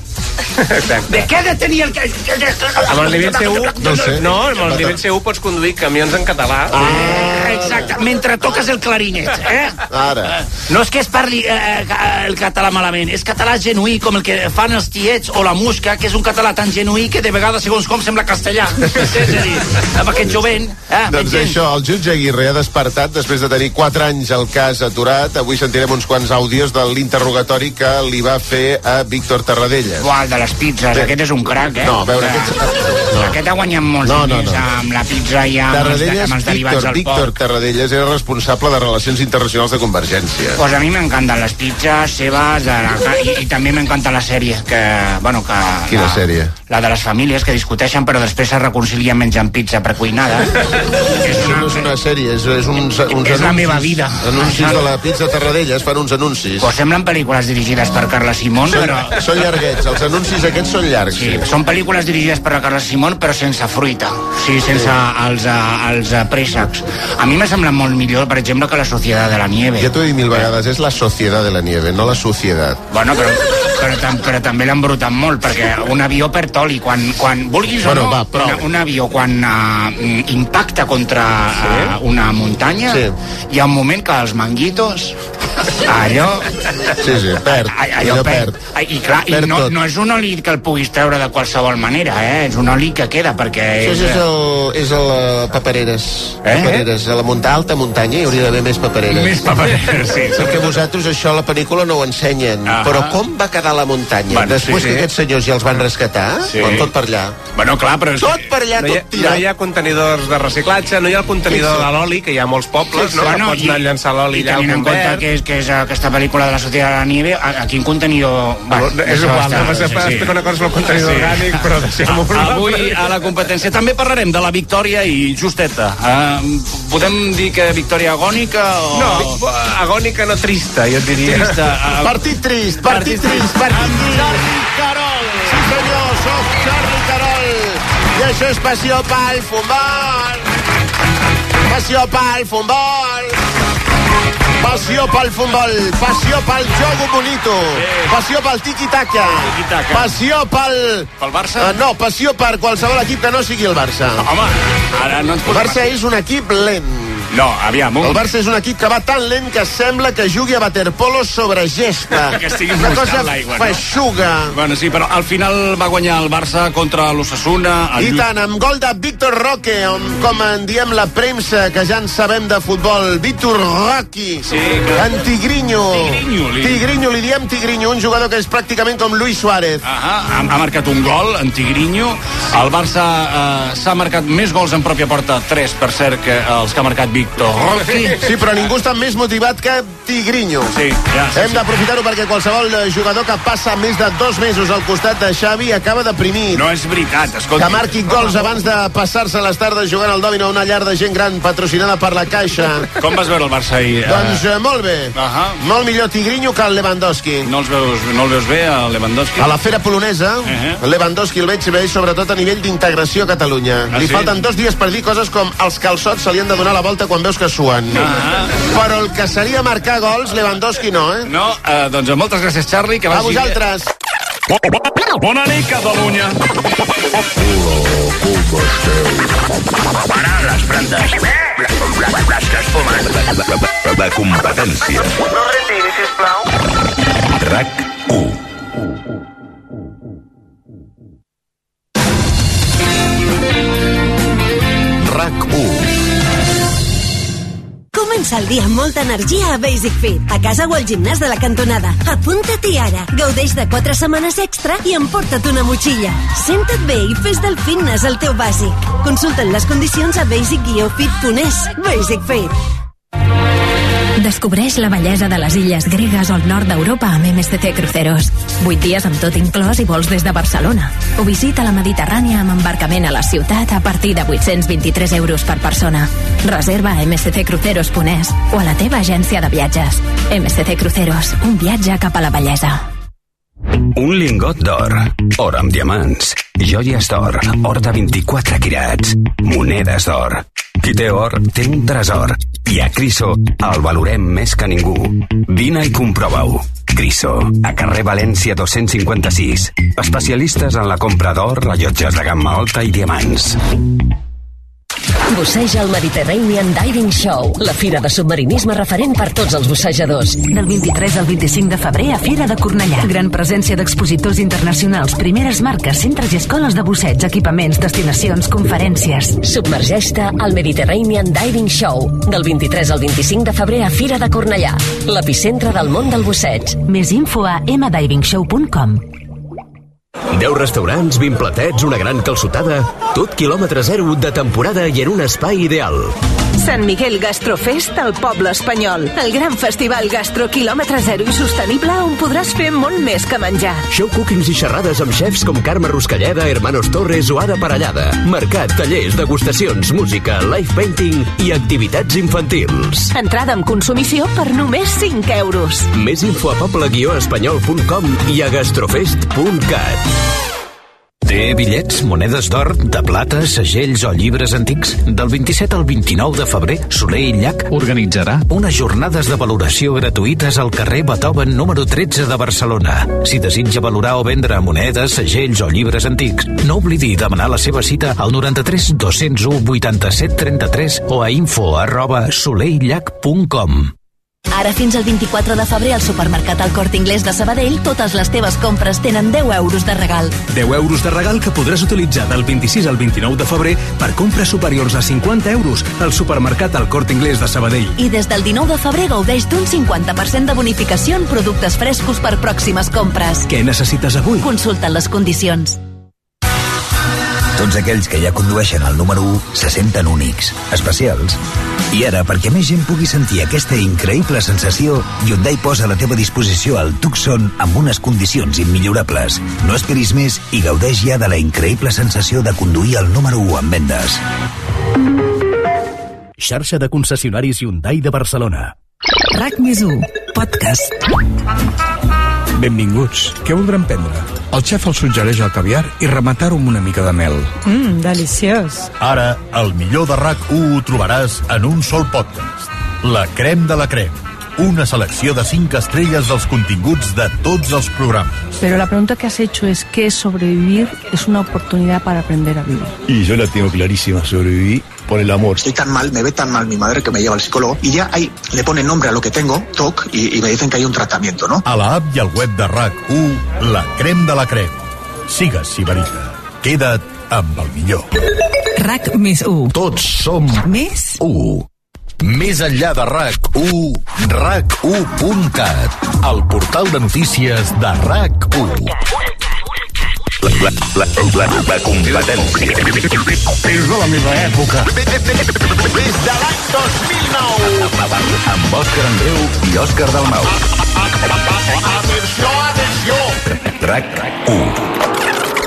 [SPEAKER 5] De què ha de tenir el...
[SPEAKER 7] Amb el nivell C1...
[SPEAKER 2] No ho sé.
[SPEAKER 7] No, amb el nivell C1 pots conduir camions en català.
[SPEAKER 5] Ah, Exacte, mentre toques el clarinet, eh?
[SPEAKER 2] Ara.
[SPEAKER 5] No és que es parli eh, eh, ca- el català malament, és català genuí, com el que fan els tiets o la musca, que és un català tan genuí que de vegades, segons com, sembla castellà. és a dir, amb aquest jovent... Eh,
[SPEAKER 6] Doncs
[SPEAKER 5] m'entens?
[SPEAKER 6] això, el jutge Aguirre ha despertat després de tenir 4 anys el cas aturat. Avui sentirem uns quants àudios de l'interrogatori que li va fer a Víctor Tarradellas.
[SPEAKER 5] Buah, el de les pizzas, aquest és un crac, eh?
[SPEAKER 6] No, a veure,
[SPEAKER 5] aquest... No. Aquest ha guanyat molts
[SPEAKER 6] No, no,
[SPEAKER 5] diners
[SPEAKER 6] no.
[SPEAKER 5] amb la pizza i amb, els, de-
[SPEAKER 6] Tarradellas,
[SPEAKER 5] amb els derivats
[SPEAKER 6] Víctor,
[SPEAKER 5] del
[SPEAKER 6] Víctor
[SPEAKER 5] porc.
[SPEAKER 6] Tarradellas era responsable de Relacions Internacionals de Convergència.
[SPEAKER 5] Pues a mi m'encanten les pizzas seves de la... ca- i, i també m'encanta la sèrie que, bueno, que,
[SPEAKER 6] Quina
[SPEAKER 5] la,
[SPEAKER 6] sèrie?
[SPEAKER 5] la de les famílies que discuteixen però després es reconcilien menjant pizza precuinada és
[SPEAKER 2] Això no és una sèrie, és, és uns, uns anuncis.
[SPEAKER 5] És la meva vida.
[SPEAKER 2] Anuncis de la pizza Tarradellas, fan uns anuncis.
[SPEAKER 5] o semblen pel·lícules dirigides per Carla Simón
[SPEAKER 2] Són,
[SPEAKER 5] però...
[SPEAKER 2] són llarguets, els anuncis aquests són llargs.
[SPEAKER 5] Sí, són pel·lícules dirigides per la Carla Simón però sense fruita, sí, sense els, eh, els eh, préssecs. A mi m'ha semblat molt millor, per exemple, que La Societat de la Nieve.
[SPEAKER 6] Ja t'ho he dit mil vegades, és la societat de la nieve, no la societat.
[SPEAKER 5] Bueno, però, però, tam, però també l'han brutat molt, perquè un avió perd oli quan, quan vulguis
[SPEAKER 6] Bueno,
[SPEAKER 5] o no,
[SPEAKER 6] va, prou.
[SPEAKER 5] una- un avió quan uh, impacta contra uh, una muntanya,
[SPEAKER 6] Sí.
[SPEAKER 5] hi ha un moment que els manguitos, allò...
[SPEAKER 6] Sí, sí, perd.
[SPEAKER 5] a- Allò perd. I clar, i
[SPEAKER 6] Perd
[SPEAKER 5] no,
[SPEAKER 6] tot.
[SPEAKER 5] no és un oli que el puguis treure de qualsevol manera, eh? És un oli que queda, perquè...
[SPEAKER 2] Això és, és, el, és el eh, Papereres. Eh? Papereres. A la munta, alta muntanya hi hauria d'haver més papereres.
[SPEAKER 3] Més papereres, sí.
[SPEAKER 2] Perquè vosaltres això a la pel·lícula no ho ensenyen.
[SPEAKER 3] Ah.
[SPEAKER 2] Però com va quedar la muntanya?
[SPEAKER 3] Bueno,
[SPEAKER 2] Després
[SPEAKER 3] sí,
[SPEAKER 2] que
[SPEAKER 3] sí.
[SPEAKER 2] aquests senyors ja els van rescatar,
[SPEAKER 3] Sí.
[SPEAKER 2] van tot per allà.
[SPEAKER 3] Bueno, clar, però... és-
[SPEAKER 2] Tot per allà,
[SPEAKER 7] No hi, ha,
[SPEAKER 2] tot
[SPEAKER 7] no
[SPEAKER 2] tirat.
[SPEAKER 7] hi ha contenidors de reciclatge, no hi ha el contenidor de l'oli, que hi ha a molts pobles, no? Que pots anar a llançar l'oli
[SPEAKER 5] i
[SPEAKER 7] allà al
[SPEAKER 5] tenint en compte
[SPEAKER 7] convert.
[SPEAKER 5] que és, que és eh, aquesta pel·lícula de la Societat de la Nieve, a, a quin contenidor... Va,
[SPEAKER 7] És
[SPEAKER 5] això
[SPEAKER 7] igual,
[SPEAKER 5] està-
[SPEAKER 7] no passa pas, una cosa és el contenidor
[SPEAKER 3] Sí.
[SPEAKER 7] orgànic, però deixem-ho
[SPEAKER 3] Ah, Avui a la competència també parlarem de la victòria i justeta. Uh, podem dir que victòria agònica o...
[SPEAKER 7] No, agònica no trista, jo et diria.
[SPEAKER 3] Trista, ah,
[SPEAKER 2] Partit trist, partit trist, partit trist. Jordi Carol. Sí, senyor, soc Jordi Carol. I això és passió pel futbol. Passió pel futbol. Passió pel futbol, passió pel jogo bonito, passió pel tiqui-taca,
[SPEAKER 3] Eh. Tiki-taka.
[SPEAKER 2] passió pel...
[SPEAKER 3] Pel Barça?
[SPEAKER 2] Eh, no, passió per qualsevol equip que no sigui el Barça.
[SPEAKER 3] Home, ara no ens
[SPEAKER 2] El
[SPEAKER 3] posem...
[SPEAKER 2] Barça és un equip lent.
[SPEAKER 3] No, aviam.
[SPEAKER 2] El Barça és un equip que va tan lent que sembla que jugui a waterpolo sobre gespa.
[SPEAKER 3] Que estigui
[SPEAKER 2] Una
[SPEAKER 3] buscant
[SPEAKER 2] cosa
[SPEAKER 3] l'aigua, no?
[SPEAKER 2] feixuga.
[SPEAKER 3] Bueno, sí, però al final va guanyar el Barça contra l'Ossassuna. el
[SPEAKER 2] I
[SPEAKER 3] Lluís-
[SPEAKER 2] tant, amb gol de Víctor Roque, on, com en diem la premsa, que ja en sabem de futbol, Víctor Roque, sí,
[SPEAKER 3] que-
[SPEAKER 2] en Tigrinho.
[SPEAKER 3] Tigrinho, li-
[SPEAKER 2] Tigrinho, li diem Tigrinho, un jugador que és pràcticament com Luis Suárez.
[SPEAKER 3] Ah, ha, ha marcat un gol, en Tigrinho. El Barça eh, s'ha marcat més gols en pròpia porta, 3, per cert, que els que ha marcat Víctor Roque.
[SPEAKER 2] Sí, però ningú està més motivat que Tigrinho.
[SPEAKER 3] Sí, ja, sí,
[SPEAKER 2] Hem
[SPEAKER 3] sí.
[SPEAKER 2] d'aprofitar-ho perquè qualsevol eh, jugador que passa més de dos mesos al costat de Xavi acaba deprimit.
[SPEAKER 3] No és veritat, escolta.
[SPEAKER 2] Que marqui gols abans de passar-se les tardes jugant al dòmino a una llar de gent gran patrocinada per la Caixa.
[SPEAKER 3] Com vas veure el Barça ahir? Eh,
[SPEAKER 2] Doncs eh, molt bé. Uh
[SPEAKER 3] Ah.
[SPEAKER 2] -huh. Molt millor Tigrinho que el Lewandowski.
[SPEAKER 3] No, els veus, no el veus bé, a Lewandowski?
[SPEAKER 2] A la fera polonesa, uh -huh. Lewandowski el veig bé, sobretot a nivell d'integració a Catalunya.
[SPEAKER 3] Ah,
[SPEAKER 2] Li
[SPEAKER 3] sí?
[SPEAKER 2] falten dos dies per dir coses com els calçots se li han de donar la volta quan veus que suen.
[SPEAKER 3] Ah.
[SPEAKER 2] Però el que seria marcar gols, Lewandowski no, eh?
[SPEAKER 3] No, eh, doncs moltes gràcies, Charlie, que
[SPEAKER 2] A
[SPEAKER 3] vagi... bé.
[SPEAKER 2] vosaltres.
[SPEAKER 3] Bona nit, Catalunya.
[SPEAKER 22] Parar les plantes. Les que es fumen.
[SPEAKER 23] La competència.
[SPEAKER 22] No retiri, sisplau.
[SPEAKER 23] RAC 1.
[SPEAKER 8] RAC 1.
[SPEAKER 24] Comença el dia amb molta energia a Basic Fit, a casa o al gimnàs de la cantonada. Apunta-t'hi ara, gaudeix de 4 setmanes extra i emporta't una motxilla. Senta't bé i fes del fitness el teu bàsic. Consulta'n les condicions a basic-fit.es. Basic Fit.
[SPEAKER 25] Descobreix la bellesa de les illes gregues al nord d'Europa amb MSC Cruceros. 8 dies amb tot inclòs i vols des de Barcelona. O visita la Mediterrània amb embarcament a la ciutat a partir de 823 euros per persona. Reserva a msccruceros.es o a la teva agència de viatges. MSC Cruceros, un viatge cap a la bellesa.
[SPEAKER 26] Un lingot d'or, or amb diamants, joies d'or, or de 24 quirats, monedes d'or. Qui té or, té un tresor. I a Criso el valorem més que ningú. Vine i comprova-ho. Criso, a carrer València 256. Especialistes en la compra d'or, rellotges de gamma alta i diamants.
[SPEAKER 27] Busseja el Mediterranean Diving Show, la fira de submarinisme referent per tots els bussejadors.
[SPEAKER 28] Del 23 al 25 de febrer a Fira de Cornellà. Gran presència d'expositors internacionals, primeres marques, centres i escoles de busseig, equipaments, destinacions, conferències.
[SPEAKER 27] Submergeix-te al Mediterranean Diving Show, del 23 al 25 de febrer a Fira de Cornellà, l'epicentre del món del busseig.
[SPEAKER 28] Més info a mdivingshow.com
[SPEAKER 19] 10 restaurants, 20 platets, una gran calçotada... Tot quilòmetre zero de temporada i en un espai ideal.
[SPEAKER 29] Sant Miguel Gastrofest al poble espanyol. El gran festival gastro quilòmetre zero i sostenible on podràs fer molt més que menjar.
[SPEAKER 19] Show cookings i xerrades amb xefs com Carme Ruscalleda, Hermanos Torres o Ada Parellada. Mercat, tallers, degustacions, música, live painting i activitats infantils.
[SPEAKER 29] Entrada amb consumició per només 5 euros.
[SPEAKER 19] Més info a poble-espanyol.com i a gastrofest.cat.
[SPEAKER 30] Té bitllets, monedes d'or, de plata, segells o llibres antics? Del 27 al 29 de febrer, Soler i Llach organitzarà unes jornades de valoració gratuïtes al carrer Beethoven número 13 de Barcelona. Si desitja valorar o vendre monedes, segells o llibres antics, no oblidi demanar la seva cita al 93 201 87 33 o a info arroba soleirllac.com.
[SPEAKER 14] Ara fins al 24 de febrer al supermercat al Corte Inglés de Sabadell totes les teves compres tenen 10 euros de regal.
[SPEAKER 30] 10 euros de regal que podràs utilitzar del 26 al 29 de febrer per compres superiors a 50 euros al supermercat al Corte Inglés de Sabadell.
[SPEAKER 14] I des del 19 de febrer gaudeix d'un 50% de bonificació en productes frescos per pròximes compres.
[SPEAKER 30] Què necessites avui?
[SPEAKER 14] Consulta les condicions.
[SPEAKER 30] Tots aquells que ja condueixen el número 1 se senten únics, especials. I ara, perquè més gent pugui sentir aquesta increïble sensació, Hyundai posa a la teva disposició el Tucson amb unes condicions immillorables. No esperis més i gaudeix ja de la increïble sensació de conduir el número 1 en vendes.
[SPEAKER 31] Xarxa de concessionaris Hyundai de Barcelona.
[SPEAKER 32] RAC més 1, podcast.
[SPEAKER 28] Benvinguts. Què voldran prendre? El xef els suggereix el caviar i rematar-ho amb una mica de mel.
[SPEAKER 32] Mmm, deliciós.
[SPEAKER 21] Ara, el millor de RAC1 ho trobaràs en un sol podcast. La crem de la crem. Una selecció de 5 estrelles dels continguts de tots els programes.
[SPEAKER 19] Pero la pregunta que has hecho es que sobrevivir es una oportunidad para aprender a vivir.
[SPEAKER 29] Y yo la tengo clarísima, sobreviví
[SPEAKER 6] por el amor.
[SPEAKER 33] Estoy tan mal, me ve tan mal mi madre que me lleva al psicólogo y ya ahí le pone nombre a lo que tengo, TOC, y, y me dicen que hay un tratamiento, ¿no?
[SPEAKER 21] A la app i al web de RAC1, la crem de la crem. Sigues Sibarica. Queda't amb el millor.
[SPEAKER 34] RAC més 1.
[SPEAKER 21] Tots som
[SPEAKER 34] més
[SPEAKER 21] 1. Més enllà de RAC1, RAC1.cat, el portal de notícies de RAC1.
[SPEAKER 35] La, la, la, la, la competència.
[SPEAKER 3] És de la meva època.
[SPEAKER 36] Des de l'any 2009.
[SPEAKER 21] Amb Òscar Andreu i Òscar Dalmau.
[SPEAKER 36] Atenció, atenció.
[SPEAKER 21] RAC1.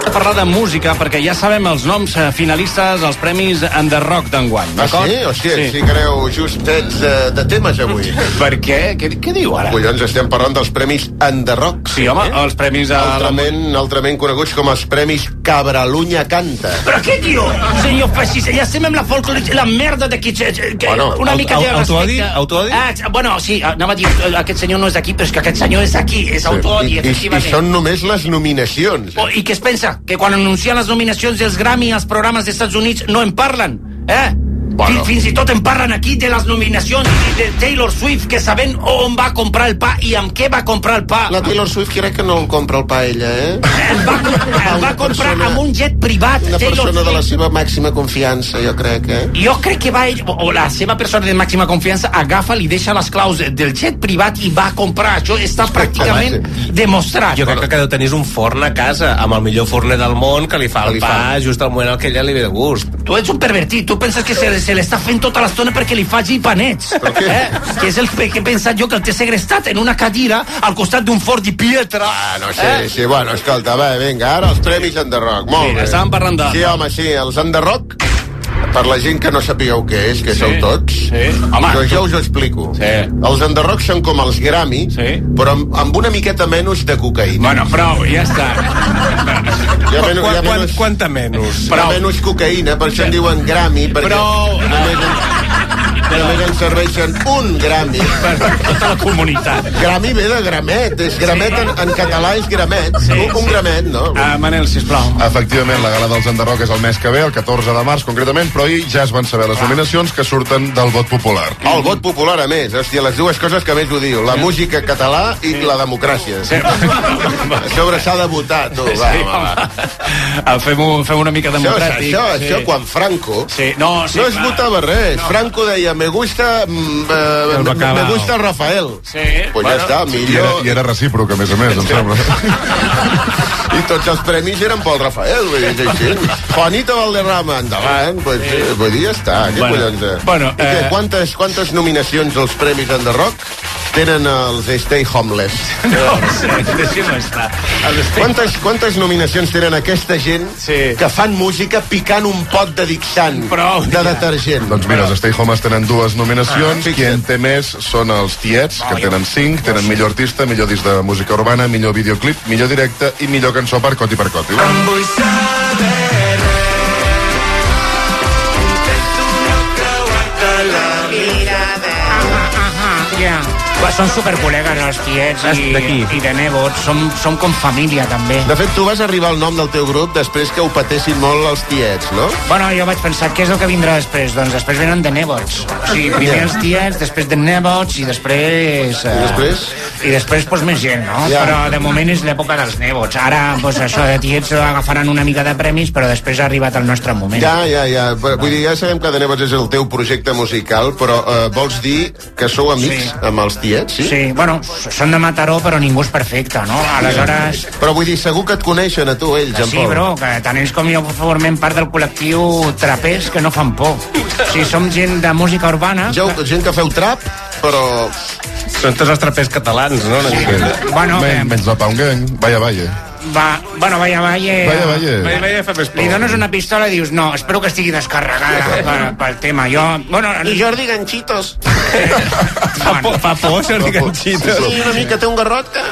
[SPEAKER 3] de parlar de música perquè ja sabem els noms eh, finalistes als premis en The Rock d'enguany,
[SPEAKER 2] Ah,
[SPEAKER 3] d'acord?
[SPEAKER 2] sí? Hòstia, sí, sí que aneu justets eh, de temes avui.
[SPEAKER 3] Per què? Què, què diu ara?
[SPEAKER 2] Collons, estem parlant dels premis Enderroc.
[SPEAKER 3] Sí, home, els premis a la-
[SPEAKER 2] Altrament, altrament coneguts com els premis Cabralunya Canta.
[SPEAKER 5] Però què diu? Senyor fascista, ja estem amb la folclore, la merda d'aquí. eh, eh, que-
[SPEAKER 2] Bueno,
[SPEAKER 5] una
[SPEAKER 2] au-
[SPEAKER 5] mica de
[SPEAKER 2] au-
[SPEAKER 5] respecte.
[SPEAKER 2] autoodi? Autoodi?
[SPEAKER 5] Ah, ex- bueno, sí, anava a dir, eh, aquest senyor no és d'aquí, però és que aquest senyor és d'aquí, és autoodi,
[SPEAKER 2] I, i, I
[SPEAKER 5] efectivament.
[SPEAKER 2] són només les nominacions.
[SPEAKER 5] Oh, I què es pensa? Que quan anuncien les nominacions dels Grammy als programes dels Estats Units no en parlen, eh? Bueno. Fins i tot en parlen aquí de les nominacions i de Taylor Swift, que sabent on va comprar el pa i amb què va comprar el pa.
[SPEAKER 2] La Taylor Swift crec que no el compra el pa ella, eh?
[SPEAKER 5] El va comprar amb un jet privat.
[SPEAKER 2] Una
[SPEAKER 5] Taylor
[SPEAKER 2] persona de la
[SPEAKER 5] Swift.
[SPEAKER 2] seva màxima confiança, jo crec, eh?
[SPEAKER 5] Jo crec que va ell, o o la seva persona de màxima confiança, agafa, li deixa les claus de- del jet privat i va a comprar. Això està pràcticament demostrat.
[SPEAKER 7] Jo crec que deu tenir un forn a casa, amb el millor forner del món, que li fa el
[SPEAKER 5] Li
[SPEAKER 7] pa
[SPEAKER 5] fa.
[SPEAKER 7] just al moment en què ella li ve de gust.
[SPEAKER 5] Tu ets un pervertit, tu penses que se, se l'està fent tota l'estona perquè li faci panets. Eh? Que és el pe- que he pensat jo que el té segrestat en una cadira al costat d'un fort i pietra. ¿Eh?
[SPEAKER 2] Ah, no Sí, sí, bueno, escolta, va, vinga, ara els premis Enderroc, molt
[SPEAKER 5] Sí,
[SPEAKER 2] bé.
[SPEAKER 5] estàvem parlant de-
[SPEAKER 2] Sí, home, sí, els Enderroc, per la gent que no sapigueu què és, que sí, sou tots, sí.
[SPEAKER 5] Home,
[SPEAKER 2] doncs jo us ho explico. Sí. Els Enderroc són com els Grammy, sí. però amb, amb una miqueta menys de cocaïna.
[SPEAKER 3] Bueno, prou, ja està.
[SPEAKER 2] Ja menys, ja
[SPEAKER 7] Quan-
[SPEAKER 2] menys,
[SPEAKER 7] Quanta menys?
[SPEAKER 2] ja menys cocaïna, per això en diuen Grammy, perquè
[SPEAKER 7] Prou.
[SPEAKER 2] només, en, només en serveixen un Grammy. Per
[SPEAKER 3] tota la comunitat.
[SPEAKER 2] Grammy ve de gramet, és gramet en, en català és gramet, sí, un, un gramet, no?
[SPEAKER 3] Ah, Manel, sisplau.
[SPEAKER 6] Efectivament, la gala dels Enderroc és el mes que ve, el 14 de març concretament, però ahir ja es van saber les nominacions que surten del vot popular.
[SPEAKER 2] Oh, el vot popular, a més. Hòstia, les dues coses que més odio. La música català i la democràcia. Sí. A sobre s'ha de votar, tu. Va,
[SPEAKER 3] Sí,
[SPEAKER 2] va, va.
[SPEAKER 3] Ah, Fem-ho fem una mica
[SPEAKER 2] Això,
[SPEAKER 3] democràtic.
[SPEAKER 2] això, això, quan Franco...
[SPEAKER 3] Sí, no, sí,
[SPEAKER 2] no es
[SPEAKER 3] clar.
[SPEAKER 2] votava res. No. Franco deia, me gusta... Mm, eh,
[SPEAKER 6] El
[SPEAKER 2] me, me
[SPEAKER 6] bacalao.
[SPEAKER 2] gusta Rafael.
[SPEAKER 3] Sí,
[SPEAKER 2] pues bueno, ja està,
[SPEAKER 6] I era,
[SPEAKER 2] millor...
[SPEAKER 6] I era recíproc, a més a més, em sembla.
[SPEAKER 2] I tots els premis eren pel Rafael, vull dir, és així. Juanito Valderrama, endavant, pues, sí. vull dir, ja està, què
[SPEAKER 3] Bueno,
[SPEAKER 2] collons. eh?
[SPEAKER 3] bueno,
[SPEAKER 2] I què,
[SPEAKER 3] eh,
[SPEAKER 2] quantes, quantes nominacions als premis en The Rock tenen els Stay Homeless?
[SPEAKER 3] No, sí, deixem estar.
[SPEAKER 2] Quantes, quantes nominacions tenen aquesta gent sí. que fan música picant un pot de dixant, Prou, de detergent?
[SPEAKER 6] Doncs mira, els Stay Homes tenen dues nominacions. Ah, Qui en té més són els Tiets, que tenen cinc, tenen millor artista, millor disc de música urbana, millor videoclip, millor directe i millor cançó per Coti per Coti.
[SPEAKER 5] Ah, Ja. Va, Són supercol·legues, els tiets i, i de nebots. Som, som com família, també.
[SPEAKER 2] De fet, tu vas arribar al nom del teu grup després que ho patessin molt els tiets, no?
[SPEAKER 5] Bueno, jo vaig pensar, què és el que vindrà després? Doncs després venen de nebots. O sigui, primer
[SPEAKER 2] Ja.
[SPEAKER 5] els tiets, després de nebots i després... Eh,
[SPEAKER 2] I després?
[SPEAKER 5] I després, doncs, més gent, no?
[SPEAKER 2] Ja.
[SPEAKER 5] Però de moment és l'època dels nebots. Ara, doncs, això de tiets agafaran una mica de premis, però després ha arribat el nostre moment.
[SPEAKER 2] Ja, ja, ja. Però, Vull dir, ja sabem que Denevos és el teu projecte musical, però eh, vols dir que sou amics sí. amb els tiets, sí?
[SPEAKER 5] Sí, bueno, són de Mataró, però ningú és perfecte, no? Aleshores...
[SPEAKER 2] Però vull dir, segur que et coneixen a tu, ells,
[SPEAKER 5] Que
[SPEAKER 2] en
[SPEAKER 5] sí,
[SPEAKER 2] Pol.
[SPEAKER 5] bro, que tant ells com jo formem part del col·lectiu trapers que no fan por. Si som gent de música urbana...
[SPEAKER 2] Ja, gent que feu trap, però...
[SPEAKER 7] Són tots els trapers catalans, no? Una miqueta.
[SPEAKER 5] Bueno,
[SPEAKER 6] Men, menys la Pound Gang, vaya, vaya.
[SPEAKER 5] Va, bueno, vaya, vaya...
[SPEAKER 6] Vaya, vaya. Vaya,
[SPEAKER 7] vaya, fa més
[SPEAKER 5] Li dones una pistola i dius, no, espero que estigui
[SPEAKER 8] Ah,
[SPEAKER 5] descarregada per, pel tema. Jo, bueno...
[SPEAKER 2] Jordi Ganchitos.
[SPEAKER 7] Fa por, fa por Jordi Ganchitos.
[SPEAKER 2] Sí, una mica té un garrot que...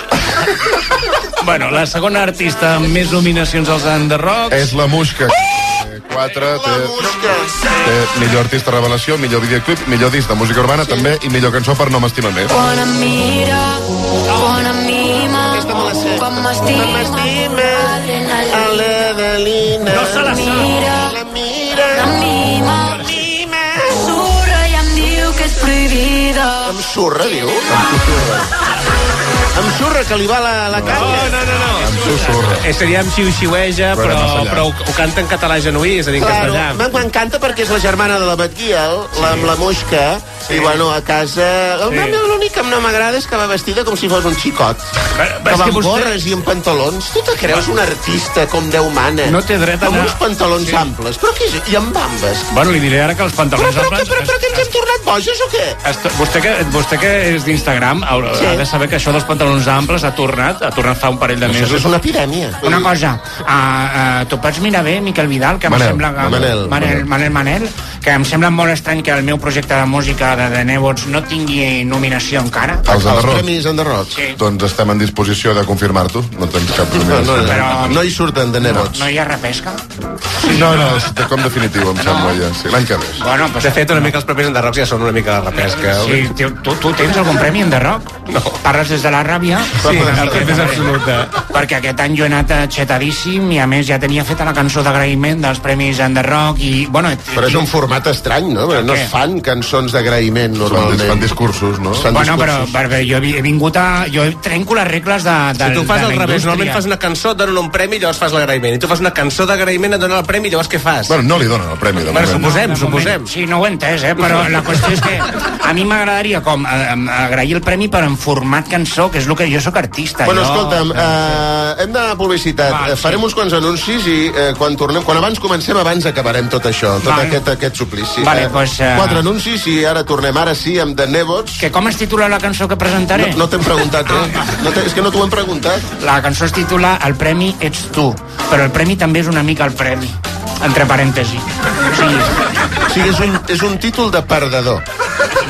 [SPEAKER 3] Bueno, la segona artista amb més nominacions als Underrocks.
[SPEAKER 6] És la Muixca. Eh, Quatre, té, té millor artista revelació, millor videoclip, millor disc de música urbana, també, i millor cançó per No m'estima més.
[SPEAKER 15] Bona mira, bona mima, com m'estima, adrenalina.
[SPEAKER 2] L'Evelina.
[SPEAKER 15] No se la mira, la mima,
[SPEAKER 6] Amb xurra, diu?
[SPEAKER 2] Amb xurra, que li va la, la canya. No, no, no. no.
[SPEAKER 7] Ah, Eh, seria amb xiu-xiueja,
[SPEAKER 2] Però
[SPEAKER 7] però,
[SPEAKER 2] era massa llarg.
[SPEAKER 7] però ho, ho canta en català genuí, és a dir, en
[SPEAKER 2] Claro,
[SPEAKER 7] castellà.
[SPEAKER 2] me- m'encanta perquè és la germana de la Batguiel, sí. la, amb la Moixca, sí. i bueno, a casa... El
[SPEAKER 7] Sí.
[SPEAKER 2] sí. l'únic que no m'agrada és que va vestida com si fos un xicot.
[SPEAKER 7] però
[SPEAKER 2] que
[SPEAKER 7] és
[SPEAKER 2] va
[SPEAKER 7] que
[SPEAKER 2] amb
[SPEAKER 7] vostè-
[SPEAKER 2] gorres i amb pantalons. Tu te creus un artista com Déu mana?
[SPEAKER 3] No té dret a
[SPEAKER 2] Amb
[SPEAKER 3] anar-
[SPEAKER 2] uns pantalons sí. amples. Però què és? I amb bambes.
[SPEAKER 3] Bueno, li diré ara que els
[SPEAKER 2] Però,
[SPEAKER 3] pantalons
[SPEAKER 2] però, però,
[SPEAKER 3] amples...
[SPEAKER 2] però, però que ens hem tornat bojos o què?
[SPEAKER 3] Est- Vostè que, vostè que és d'Instagram ha, sí. ha de saber que això dels pantalons amples ha tornat, ha tornat fa un parell de mesos.
[SPEAKER 2] és una epidèmia.
[SPEAKER 8] Doncs Una cosa, uh, uh, tu pots mirar bé, Miquel Vidal, que
[SPEAKER 3] Manel,
[SPEAKER 8] em sembla... Que,
[SPEAKER 3] Manel,
[SPEAKER 8] Manel, Manel, Manel, que em sembla molt estrany que el meu projecte de música de The Nebots no tingui nominació encara.
[SPEAKER 1] Els enderrocs.
[SPEAKER 6] enderrocs.
[SPEAKER 1] Sí. Doncs estem en disposició de confirmar-t'ho. No tens cap problema.
[SPEAKER 6] No, no, Però- no hi
[SPEAKER 1] surten de nebots.
[SPEAKER 8] No hi ha repesca?
[SPEAKER 1] No, no, és de com definitiu, em sembla, ja. Sí, l'any que ve.
[SPEAKER 8] Bueno,
[SPEAKER 3] doncs,
[SPEAKER 8] pues,
[SPEAKER 7] de fet, una mica els propers enderrocs ja són una mica de repesca.
[SPEAKER 8] Sí, tu, tu, tu tens algun premi en The Rock? No. Parles des de la ràbia?
[SPEAKER 7] Sí, el que és absoluta.
[SPEAKER 8] Perquè aquest any jo he anat eh, xetadíssim i a més ja tenia feta la cançó d'agraïment dels premis en The Rock i... Bueno, et-
[SPEAKER 6] Però és un format estrany, no? Perquè no es fan cançons d'agraïment, normalment.
[SPEAKER 1] fan discursos, no?
[SPEAKER 8] bueno, però, però jo he he vingut a... Jo trenco les regles de, de
[SPEAKER 7] Si tu fas
[SPEAKER 8] de la
[SPEAKER 7] al revés,
[SPEAKER 8] indústria.
[SPEAKER 7] normalment fas una cançó, et donen un premi, llavors fas l'agraïment. I tu fas una cançó d'agraïment, et donen el premi, llavors què fas?
[SPEAKER 1] Bueno, no li donen el premi, de
[SPEAKER 7] Bueno,
[SPEAKER 1] moment.
[SPEAKER 7] suposem,
[SPEAKER 8] De moment,
[SPEAKER 7] suposem.
[SPEAKER 8] Sí, no ho he entès, eh? però la qüestió és que a mi m'agradaria com eh, em- agrair el premi però en format cançó, que és el que jo sóc artista.
[SPEAKER 6] Bueno,
[SPEAKER 8] jo...
[SPEAKER 6] escolta'm, eh, hem d'anar a publicitat.
[SPEAKER 8] Val,
[SPEAKER 6] Eh, Farem
[SPEAKER 8] sí.
[SPEAKER 6] uns quants anuncis i eh, quan tornem, quan abans comencem, abans acabarem tot això, tot
[SPEAKER 8] Val.
[SPEAKER 6] aquest, aquest suplici.
[SPEAKER 8] Vale,
[SPEAKER 6] Eh,
[SPEAKER 8] pues, eh,
[SPEAKER 6] Quatre anuncis i ara tornem, ara sí, amb The Nebots.
[SPEAKER 8] Que com es titula la cançó que presentaré? Ah,
[SPEAKER 6] No, no t'hem preguntat, eh? No t'he- és que no t'ho hem preguntat.
[SPEAKER 8] La cançó es titula El premi ets tu, però el premi també és una mica el premi, entre parèntesi. O sigui,
[SPEAKER 6] O sigui, és un, és un títol de perdedor.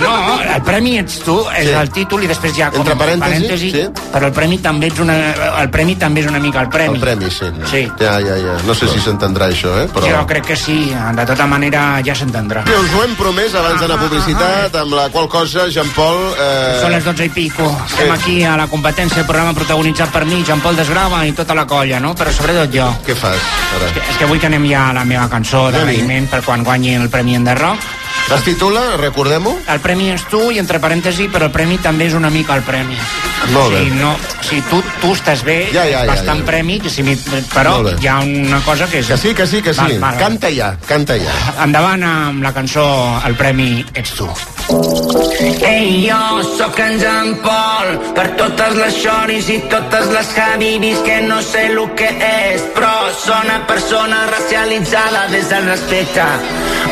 [SPEAKER 8] no, el premi ets tu, és
[SPEAKER 6] Sí.
[SPEAKER 8] el títol i després hi ha com
[SPEAKER 6] Entre parèntesi, sí.
[SPEAKER 8] però el premi també ets una, el premi també és una mica el premi.
[SPEAKER 6] El premi, sí. No?
[SPEAKER 8] Sí.
[SPEAKER 6] Ja, ja, ja. No sé si s'entendrà això, eh? Però...
[SPEAKER 8] Jo crec que sí, de tota manera ja s'entendrà.
[SPEAKER 6] Que us ho hem promès abans
[SPEAKER 8] Ah,
[SPEAKER 6] d'anar a publicitat, amb la qual cosa, Jean-Paul... Eh...
[SPEAKER 8] Són les 12 i pico. Estem aquí a la competència, el programa protagonitzat per mi, Jean Paul Desgrava i tota la colla, no? Però sobretot jo.
[SPEAKER 6] Què fas, ara?
[SPEAKER 8] És que vull que anem ja a la meva cançó d'agraïment per quan guanyi el Premi Enderroc.
[SPEAKER 6] Es titula, recordem-ho?
[SPEAKER 8] El premi és tu, i entre parèntesi, però el premi també és una mica el premi.
[SPEAKER 6] Molt bé.
[SPEAKER 8] O sigui, no, o sigui, tu, tu estàs bé,
[SPEAKER 6] Ja, ja, ja,
[SPEAKER 8] és bastant
[SPEAKER 6] ja.
[SPEAKER 8] premi, que si mi, però
[SPEAKER 6] Molt bé.
[SPEAKER 8] hi ha una cosa que és...
[SPEAKER 6] Que sí, que sí, que sí.
[SPEAKER 8] Val, val,
[SPEAKER 6] Canta ja, canta ja.
[SPEAKER 8] Endavant amb la cançó El premi ets tu.
[SPEAKER 20] Ei, jo sóc en Jean Paul per totes les xoris i totes les habibis que no sé el que és però sóc una persona racialitzada des del respecte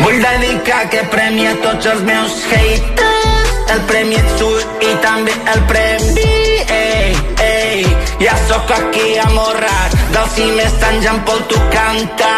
[SPEAKER 20] vull dedicar aquest premi a tots els meus haters el premi ets tu i també el premi ei, ei ja sóc aquí amorrat del cim està en Jean Paul tu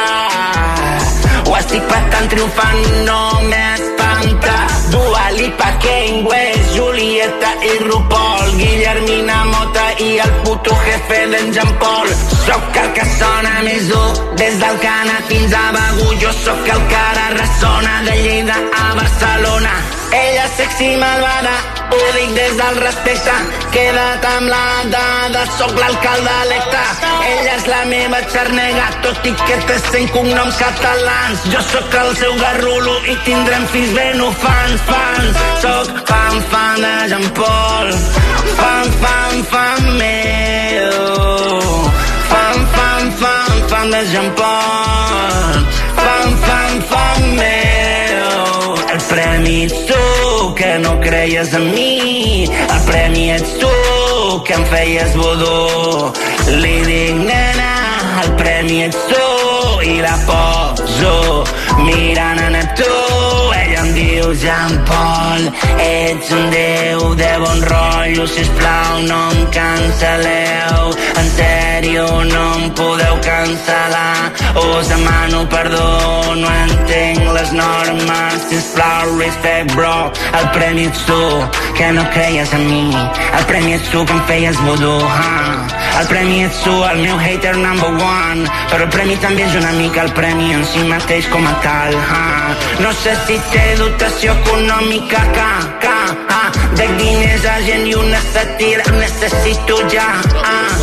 [SPEAKER 20] canta ho estic patant triomfant, no m'espanta. Dua Lipa, Kane West, Julieta i RuPaul, Guillermina Mota i el puto jefe d'en Jean Paul. Sóc el que sona més dur, des del Cana fins a Begur. Jo sóc el que ara ressona, de Lleida a Barcelona. Ella és sexy i malvada, ho dic des del respecte. Queda't amb la dada, sóc l'alcalde electe. Ella és la meva xarnega, tot i que té 100 cognoms catalans. Jo sóc el seu garrulo i tindrem fills ben fans, fans. Sóc fan, fan de Jean Paul, fan, fan, fan meu. Fan, fan, fan, fan de Jean Paul, fan, fan, fan meu. El premi ets tu, que no creies en mi. El premi ets tu, que em feies vodú. Li dic, nena, el premi ets tu. I la poso mirant a Neptú. Ella em diu, Jean Paul, ets un déu de bon rotllo. Sisplau, no em cancel·leu. En sèrio, no em podeu cancel·lar. Us demano perdó, no entenc les normes. Sisplau, respect, bro. El premi ets tu, que no creies en mi. El premi ets tu que em feies vodú. Ah. El premi ets tu, el meu hater number one. Però el premi també és una mica el premi en si mateix com a tal. Ah. No sé si té dotació econòmica, ca, ca, ah. Dec diners a gent i una satira em necessito ja. Ah.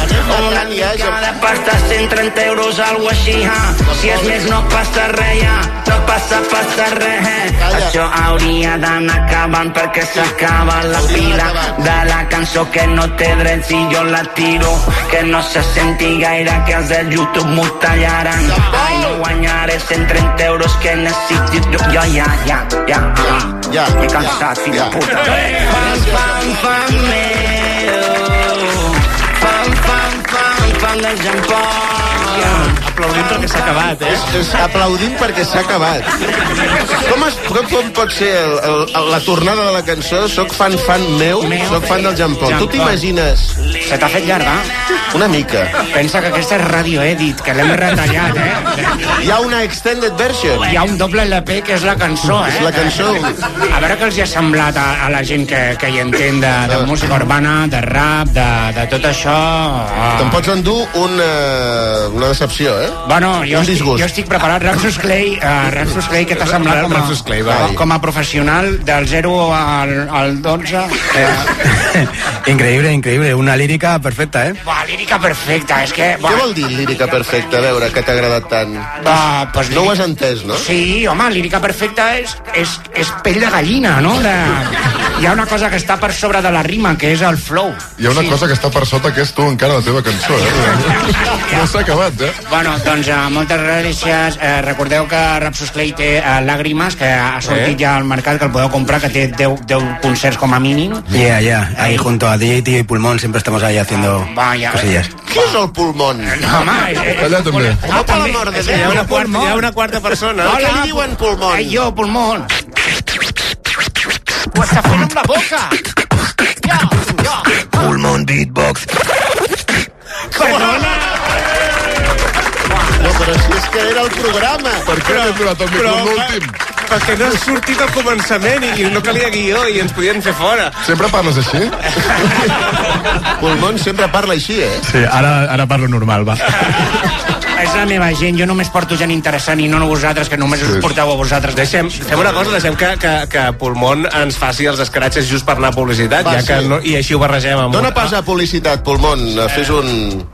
[SPEAKER 20] Una mica de pasta, 130 euros, alguna així. Ah. Si és més no passa res, ja. No passa, passa res. eh. Això hauria d'anar acabant perquè s'acaba la pila de la cançó que no té drets i jo la tiro que no se senti gaire que els de YouTube m'ho tallaran ai no guanyaré 130 euros que necessito ja ja ja ja ja ja m'he cansat fill de puta pam pam pam meu pam pam pam pam del Jean Paul
[SPEAKER 37] Aplaudim perquè s'ha acabat, eh? És, és, aplaudim perquè s'ha acabat.
[SPEAKER 2] Com, es, com, com pot ser el, el, el, la tornada de la cançó? Soc fan, fan meu, soc fan del Jean Paul.
[SPEAKER 8] Jean
[SPEAKER 2] Tu t'imagines...
[SPEAKER 8] Se t'ha fet llarga?
[SPEAKER 2] Una mica.
[SPEAKER 8] Pensa que aquesta és Radio Edit, que l'hem retallat, eh?
[SPEAKER 2] Hi ha una extended version.
[SPEAKER 8] Hi ha un doble LP que és la cançó, eh?
[SPEAKER 2] És la cançó.
[SPEAKER 8] A veure què els hi ha semblat a, a la gent que, que hi entén de, de
[SPEAKER 2] Ah.
[SPEAKER 8] música urbana, de rap, de, de tot això. Ah.
[SPEAKER 2] Te'n pots endur una, una decepció, eh?
[SPEAKER 8] Bueno, jo
[SPEAKER 2] un
[SPEAKER 8] estic,
[SPEAKER 2] disgust.
[SPEAKER 8] jo estic preparat. Ramsus Clay, uh, Ramsus Clay, què t'ha semblat com a,
[SPEAKER 2] Ramsus Clay, va.
[SPEAKER 8] com, com a professional del 0 al, al 12? Eh,
[SPEAKER 3] Increïble, increïble. Una lírica perfecta, eh?
[SPEAKER 8] buah, lírica perfecta, és que...
[SPEAKER 2] Què vol dir lírica perfecta? A veure, que t'ha agradat tant.
[SPEAKER 8] Va, Ah, pues
[SPEAKER 2] no ho has entès, no?
[SPEAKER 8] Sí, home, lírica perfecta és, és, és pell de gallina, no? De... Hi ha una cosa que està per sobre de la rima, que és el flow.
[SPEAKER 6] Hi ha una sí. cosa que està per sota, que és tu encara, la teva cançó, eh? No s'ha acabat, eh?
[SPEAKER 8] Bueno, doncs eh, moltes gràcies. Eh, recordeu que Rapsus Clay té eh, Làgrimes, que ha sortit
[SPEAKER 3] Eh?
[SPEAKER 8] ja al mercat, que el podeu comprar, que té 10, 10 concerts com a mínim.
[SPEAKER 3] Yeah, yeah. Ahí junto a DJ Tío y Pulmón siempre estamos ahí
[SPEAKER 20] Ah,
[SPEAKER 3] haciendo
[SPEAKER 8] Vaya.
[SPEAKER 3] cosillas.
[SPEAKER 2] Què és el pulmón?
[SPEAKER 8] Eh, No, home, és, és,
[SPEAKER 3] Allà també.
[SPEAKER 2] Home, per l'amor de Déu.
[SPEAKER 8] Hi ha una
[SPEAKER 2] quarta, hi ha
[SPEAKER 37] una quarta persona.
[SPEAKER 2] Què li diuen pulmón?
[SPEAKER 8] Ai, jo, pulmón. Ho està fent amb la boca.
[SPEAKER 4] Pulmón Beatbox.
[SPEAKER 8] Perdona.
[SPEAKER 38] No, però si és que era el programa.
[SPEAKER 6] Per què l'hem donat el micro
[SPEAKER 8] eh,
[SPEAKER 37] però-
[SPEAKER 6] l'últim?
[SPEAKER 37] Perquè no ha sortit al començament i, i no calia guió i ens podien fer fora.
[SPEAKER 6] Sempre parles així?
[SPEAKER 2] Pulmón sempre parla així, eh?
[SPEAKER 3] Sí, ara, ara parlo normal, va.
[SPEAKER 8] És la meva gent, jo només porto gent interessant i no vosaltres, que només us porteu a vosaltres.
[SPEAKER 7] Deixem, Fem una cosa, deixem que, que, que Pulmón ens faci els escratxes just per anar a publicitat,
[SPEAKER 2] Va,
[SPEAKER 7] ja que
[SPEAKER 2] sí.
[SPEAKER 7] no, i així ho barregem amb... Ah.
[SPEAKER 2] Dóna pas a publicitat, pulmón. eh, Fes un...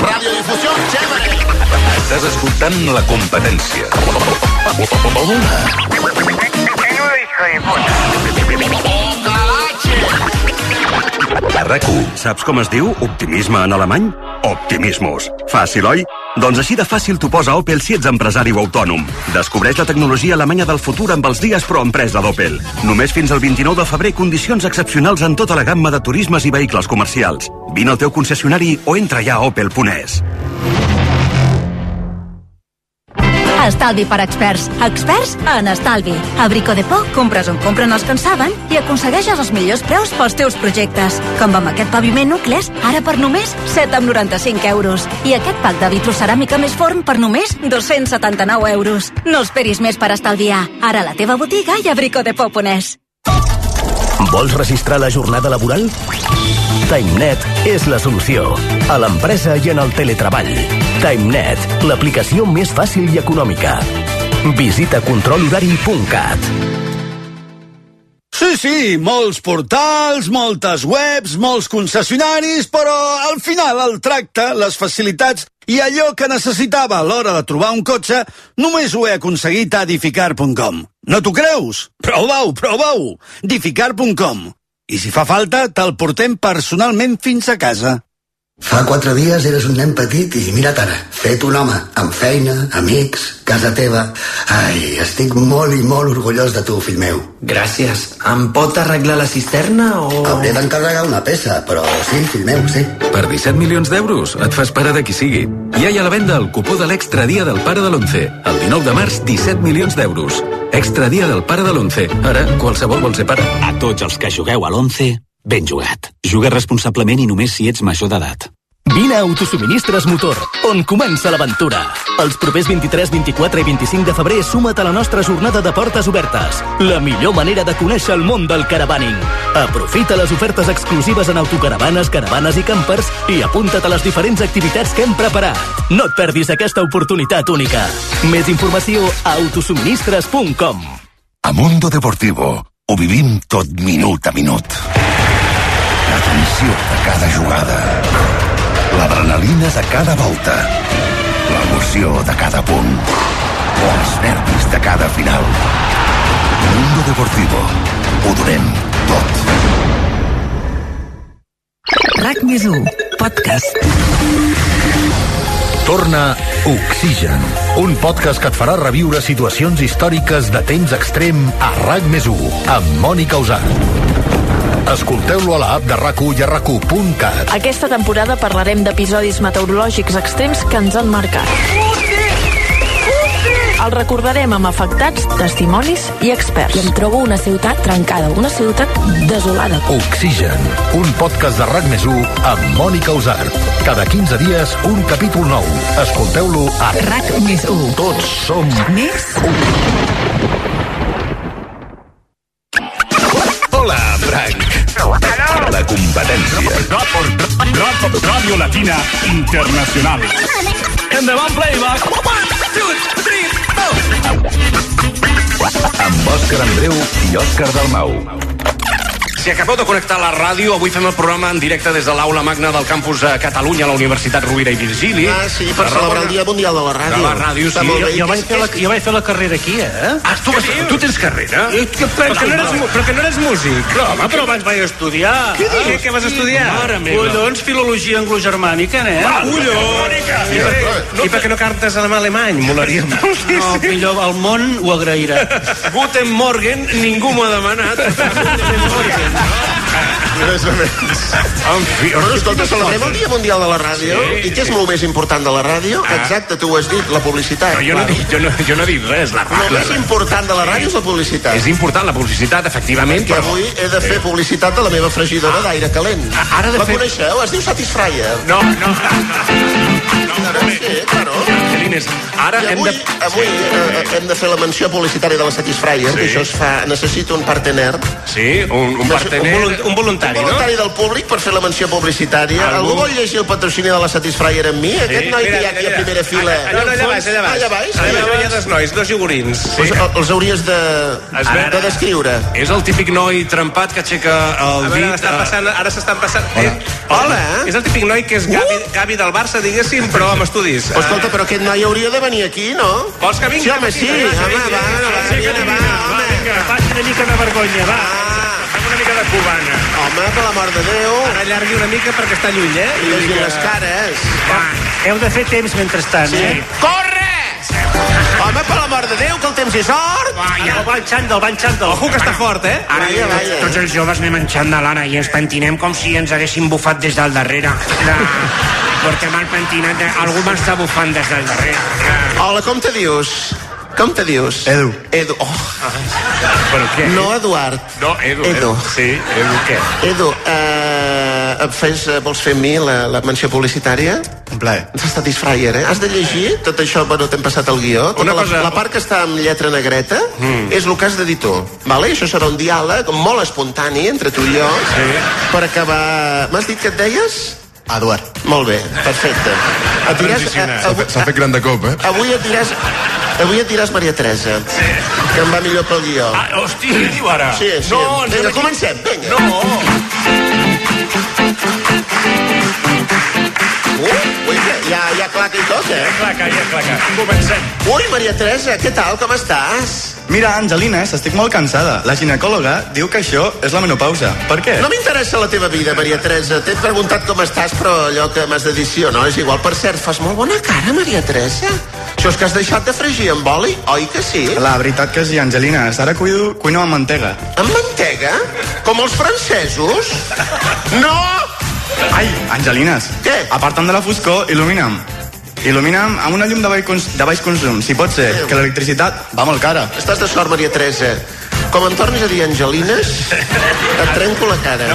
[SPEAKER 38] Radiodifusió, Gemma.
[SPEAKER 39] Estàs escoltant la competència. Ona.
[SPEAKER 21] A rac saps com es diu optimisme en alemany? Optimismus. Fàcil, oi? Doncs així de fàcil t'ho posa Opel si ets empresari o autònom. Descobreix la tecnologia alemanya del futur amb els dies pro empresa d'Opel. Només fins al 29 de febrer condicions excepcionals en tota la gamma de turismes i vehicles comercials. Vine al teu concessionari o entra ja a opel.es.
[SPEAKER 14] Estalvi per experts. Experts en estalvi. A Brico de Por compres on compren els que en saben i aconsegueixes els millors preus pels teus projectes. Com amb aquest paviment Nucles, ara per només 7,95 euros. I aquest pack de vitroceràmica més forn per només 279 euros. No esperis més per estalviar. Ara a la teva botiga i a Brico de Por Pones.
[SPEAKER 19] Vols registrar la jornada laboral? TimeNet és la solució. A l'empresa i en el teletreball. TimeNet, l'aplicació més fàcil i econòmica. Visita controlhorari.cat.
[SPEAKER 17] Sí, sí, molts portals, moltes webs, molts concessionaris, però al final el tracte, les facilitats i allò que necessitava a l'hora de trobar un cotxe només ho he aconseguit a edificar.com. No t'ho creus? Prova-ho, prova-ho! edificar.com. I si fa falta, te'l portem personalment fins a casa.
[SPEAKER 40] Fa quatre dies eres un nen petit i mira't ara, fet un home, amb feina, amics, casa teva... Ai, estic molt i molt orgullós de tu, fill meu.
[SPEAKER 5] Gràcies. Em pot arreglar la cisterna o...
[SPEAKER 40] Hauré d'encarregar una peça, però sí, fill meu, sí.
[SPEAKER 5] Per 17 milions d'euros et fas pare de qui sigui. Ja hi ha a la venda el cupó de l'extra dia del pare de l'11. El 19 de març, 17 milions d'euros. Extra dia del pare de l'11. Ara, qualsevol vol ser pare.
[SPEAKER 39] A tots els que jugueu a l'11, ben jugat. Juga responsablement i només si ets major d'edat.
[SPEAKER 19] Vine a Autosuministres Motor, on comença l'aventura. Els propers 23, 24 i 25 de febrer suma't a la nostra jornada de portes obertes. La millor manera de conèixer el món del caravaning. Aprofita les ofertes exclusives en autocaravanes, caravanes i campers i apunta't a les diferents activitats que hem preparat. No et perdis aquesta oportunitat única. Més informació a autosuministres.com
[SPEAKER 41] A Mundo Deportivo ho vivim tot minut a minut. La tensió de cada jugada. L'adrenalina de cada volta. L'emoció de cada punt. O els nervis de cada final. Mundo Deportivo. Ho donem tot.
[SPEAKER 14] RAC més 1, podcast.
[SPEAKER 21] Torna Oxigen, un podcast que et farà reviure situacions històriques de temps extrem a RAC més 1, amb Mònica Usar. Escolteu-lo a l'app de RAC1 i a rac1.cat.
[SPEAKER 20] Aquesta temporada parlarem d'episodis meteorològics extrems que ens han marcat. El recordarem amb afectats, testimonis i experts. I em trobo una ciutat trencada, una ciutat desolada.
[SPEAKER 21] Oxigen, un podcast de RAC més 1 amb Mònica Usar. Cada 15 dies, un capítol nou. Escolteu-lo a
[SPEAKER 14] RAC més 1.
[SPEAKER 21] Tots som
[SPEAKER 14] Més
[SPEAKER 41] Hola, Frank. La competència.
[SPEAKER 42] Radio Latina Internacional. Endavant, playback. One, two, three,
[SPEAKER 41] Amb Òscar Andreu i Òscar Dalmau.
[SPEAKER 3] Si acabeu de connectar la ràdio, avui fem el programa en directe des de l'aula magna del campus a Catalunya, a la Universitat Rovira i Virgili.
[SPEAKER 2] Ah, sí, per celebrar el Dia Mundial de la Ràdio.
[SPEAKER 3] De la ràdio,
[SPEAKER 2] Està
[SPEAKER 3] sí.
[SPEAKER 2] molt bé. Jo- jo vaig fer la-
[SPEAKER 3] jo vaig fer la carrera aquí, eh? Ah, tu, vas, tu tens carrera?
[SPEAKER 7] Eh, que però, que no eres, mu- però que no eres músic. No, home, però abans vaig estudiar. Què, què, què vas estudiar?
[SPEAKER 42] Mare meva. Collons, filologia anglogermànica, nen.
[SPEAKER 7] Va, collons!
[SPEAKER 42] Sí,
[SPEAKER 2] eh,
[SPEAKER 7] I per què no cantes en alemany? Molaria molt.
[SPEAKER 42] No, millor, el món ho agrairà.
[SPEAKER 3] Guten Morgen, ningú m'ho ha demanat.
[SPEAKER 2] Més o menys.
[SPEAKER 3] En fi,
[SPEAKER 2] Bueno, escolta, celebrem el Dia Mundial de la Ràdio
[SPEAKER 3] Sí.
[SPEAKER 2] i què és molt més important de la ràdio?
[SPEAKER 3] Ah.
[SPEAKER 2] Exacte, tu ho has dit, la publicitat.
[SPEAKER 3] No, jo, no,
[SPEAKER 2] Clar.
[SPEAKER 3] dic- jo, no, jo no dic res. La,
[SPEAKER 2] El
[SPEAKER 3] la,
[SPEAKER 2] més important de la ràdio és la publicitat.
[SPEAKER 3] és important la publicitat, efectivament,
[SPEAKER 2] Que
[SPEAKER 3] però... Eh. Ah.
[SPEAKER 2] avui he de fer publicitat de la meva fregidora d'aire calent.
[SPEAKER 3] ara de
[SPEAKER 2] la
[SPEAKER 3] fer-
[SPEAKER 2] coneixeu? Es diu Satisfyer.
[SPEAKER 3] No, no, no. Celines, ara
[SPEAKER 2] I
[SPEAKER 3] hem
[SPEAKER 2] avui,
[SPEAKER 3] de...
[SPEAKER 2] avui eh, hem de fer la menció publicitària de la Satisfyer,
[SPEAKER 3] Sí.
[SPEAKER 2] que això es fa... Necessito un partener.
[SPEAKER 3] Sí, un, un, partener...
[SPEAKER 2] Un volun- un
[SPEAKER 3] voluntari,
[SPEAKER 2] Un voluntari del públic per fer la menció publicitària. Algú,
[SPEAKER 3] Algú
[SPEAKER 2] vol llegir el patrocini de la Satisfyer amb mi? Aquest noi que hi ha aquí a primera fila.
[SPEAKER 7] Allà, allà, allà baix, allà baix.
[SPEAKER 2] Allà baix.
[SPEAKER 7] Allà baix, hi ha dos nois, dos iogurins.
[SPEAKER 2] Pues, el- els eh, hauries de, de descriure.
[SPEAKER 3] És el típic noi trempat que aixeca el
[SPEAKER 7] A veure,
[SPEAKER 3] dit...
[SPEAKER 7] està
[SPEAKER 3] eh,
[SPEAKER 7] passant, ara s'estan passant... Hola. Eh, hola. És el típic noi que és Gavi, Gavi del Barça, diguéssim, però amb estudis. Eh,
[SPEAKER 2] Però Uh! escolta, però aquest noi hauria de venir aquí, no?
[SPEAKER 7] Vols que vingui?
[SPEAKER 2] Sí, home, sí.
[SPEAKER 7] Vinga,
[SPEAKER 2] Home,
[SPEAKER 7] vinga,
[SPEAKER 2] va,
[SPEAKER 7] vinga,
[SPEAKER 2] va,
[SPEAKER 7] aixeca't
[SPEAKER 2] vinga,
[SPEAKER 7] una mica,
[SPEAKER 2] va, home.
[SPEAKER 7] vinga, faci una mica de vergonya, va. Fem una mica de cubana.
[SPEAKER 2] Ah. Home, per la mort de Déu.
[SPEAKER 7] Ara allargui una mica perquè està lluny, eh?
[SPEAKER 2] I llegir les cares.
[SPEAKER 20] Ah,
[SPEAKER 8] Heu de fer temps mentrestant,
[SPEAKER 2] Sí.
[SPEAKER 8] eh?
[SPEAKER 2] Corre! Home, per la mort de Déu, que el temps és sort!
[SPEAKER 8] El van xandall, van xandall. Ojo, que està fort, eh?
[SPEAKER 2] Ara,
[SPEAKER 8] Ara,
[SPEAKER 2] Vaya, vaya.
[SPEAKER 8] tots els joves anem en xandall ara i ens pentinem com si ens haguéssim bufat des del darrere. La... Portem el pentinat, de... algú m'està bufant des del darrere.
[SPEAKER 2] Ah, Hola, com te dius? Com te dius? Edu. Edu. Oh.
[SPEAKER 3] Però Ah. què?
[SPEAKER 2] No, Eduard.
[SPEAKER 3] No, Edu.
[SPEAKER 2] Edu.
[SPEAKER 3] Sí, Edu, què?
[SPEAKER 2] Edu, eh, em fes, eh, vols fer amb mi la, la menció publicitària? Un plaer. Has estat disfraier, eh? Has de llegir tot això, bueno, t'hem passat el guió. Tota
[SPEAKER 3] Una
[SPEAKER 2] la,
[SPEAKER 3] cosa-
[SPEAKER 2] la part que està amb lletra negreta
[SPEAKER 7] Hmm.
[SPEAKER 2] mm. és el que has de dir tu. Vale? Això serà un diàleg molt espontani entre tu i jo sí. per acabar... M'has dit que et deies? Eduard. Molt bé, perfecte. Et diràs, eh,
[SPEAKER 6] S'ha
[SPEAKER 2] avui,
[SPEAKER 6] fet- s'ha fet gran de cop, eh?
[SPEAKER 2] avui et diràs... Avui et diràs Maria Teresa, sí. que em va millor pel guió. Ah,
[SPEAKER 3] hosti, què diu ara?
[SPEAKER 2] Sí, sí.
[SPEAKER 3] No, ens
[SPEAKER 2] vinga,
[SPEAKER 3] hem-
[SPEAKER 2] comencem, vinga.
[SPEAKER 3] No!
[SPEAKER 2] Ui, ja, ja claca i tot, eh?
[SPEAKER 3] Claca, ja claca. Comencem.
[SPEAKER 2] Ui, Maria Teresa, què tal? Com estàs?
[SPEAKER 41] Mira, Angelines, estic molt cansada. La ginecòloga diu que això és la menopausa. Per què?
[SPEAKER 2] No m'interessa la teva vida, Maria Teresa. T'he preguntat com estàs, però allò que m'has de dir sí o no és igual. Per cert, fas molt bona cara, Maria Teresa. Això és que has deixat de fregir amb oli, oi que sí?
[SPEAKER 41] La veritat que sí, Angelines. Ara cuido, cuino amb mantega.
[SPEAKER 2] Amb mantega? Com els francesos? No!
[SPEAKER 41] Ai, Angelines.
[SPEAKER 2] Què?
[SPEAKER 41] Aparta'm de la foscor, il·lumina'm. Il·lumina'm amb una llum de baix, cons de baix consum, si pot ser, que l'electricitat va molt cara.
[SPEAKER 2] Estàs de sort, Maria Teresa. Com em tornis a dir Angelines, et trenco la cara.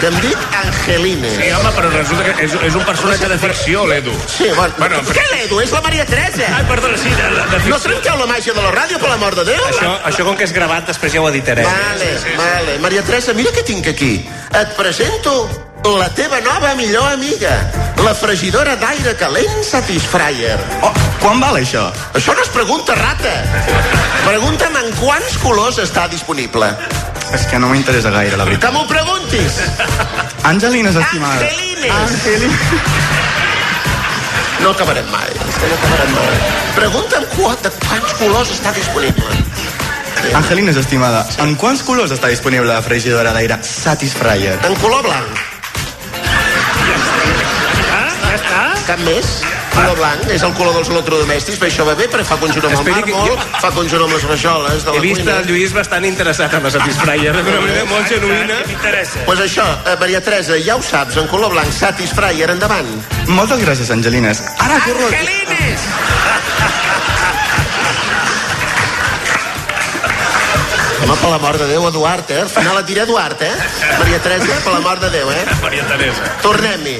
[SPEAKER 2] Que em dic Angelines.
[SPEAKER 3] Sí, home, però resulta que és, és un personatge de ficció, l'Edu.
[SPEAKER 2] Sí, bueno,
[SPEAKER 3] Bueno,
[SPEAKER 2] però... què l'Edu? És la Maria Teresa.
[SPEAKER 3] Ai, perdona, sí, de, de ficció.
[SPEAKER 2] No trenqueu la màgia de la ràdio, per l'amor de Déu.
[SPEAKER 7] Això, això com que és gravat, després ja ho editarem.
[SPEAKER 2] Vale, vale. Maria Teresa, mira què tinc aquí. Et presento la teva nova millor amiga, la fregidora d'aire calent Satisfyer. Oh, quan val això? Això no es pregunta, rata. Pregunta'm en quants colors està disponible.
[SPEAKER 41] És que no m'interessa gaire, la
[SPEAKER 2] Que
[SPEAKER 41] veritat.
[SPEAKER 2] m'ho preguntis. Ah,
[SPEAKER 41] Angelines, estimada.
[SPEAKER 2] Angelines. No acabarem mai, és que no acabarem mai. Pregunta'm quant, de quants colors està disponible.
[SPEAKER 41] Angelines, estimada, en quants colors està disponible la fregidora d'aire Satisfyer?
[SPEAKER 2] En color blanc.
[SPEAKER 3] Ja està?
[SPEAKER 2] Cap més? Color blanc, és el color dels electrodomèstics, però això va bé, perquè fa conjunt amb el
[SPEAKER 7] Esperi que-
[SPEAKER 2] màrmol, fa conjunt amb les rajoles de
[SPEAKER 7] He
[SPEAKER 2] la
[SPEAKER 7] vist
[SPEAKER 2] cuina.
[SPEAKER 7] el Lluís bastant interessat en la Satisfyer, d'una manera molt genuïna.
[SPEAKER 2] Doncs pues això, eh, Maria Teresa, ja ho saps, en color blanc, Satisfyer, endavant.
[SPEAKER 41] Moltes gràcies, Angelines. Ara corro...
[SPEAKER 2] Angelines! Home, per la mort de Déu, Eduard, eh? Al final et diré Eduard, eh? Maria Teresa, per la mort de Déu, eh?
[SPEAKER 3] Maria Teresa.
[SPEAKER 2] Tornem-hi.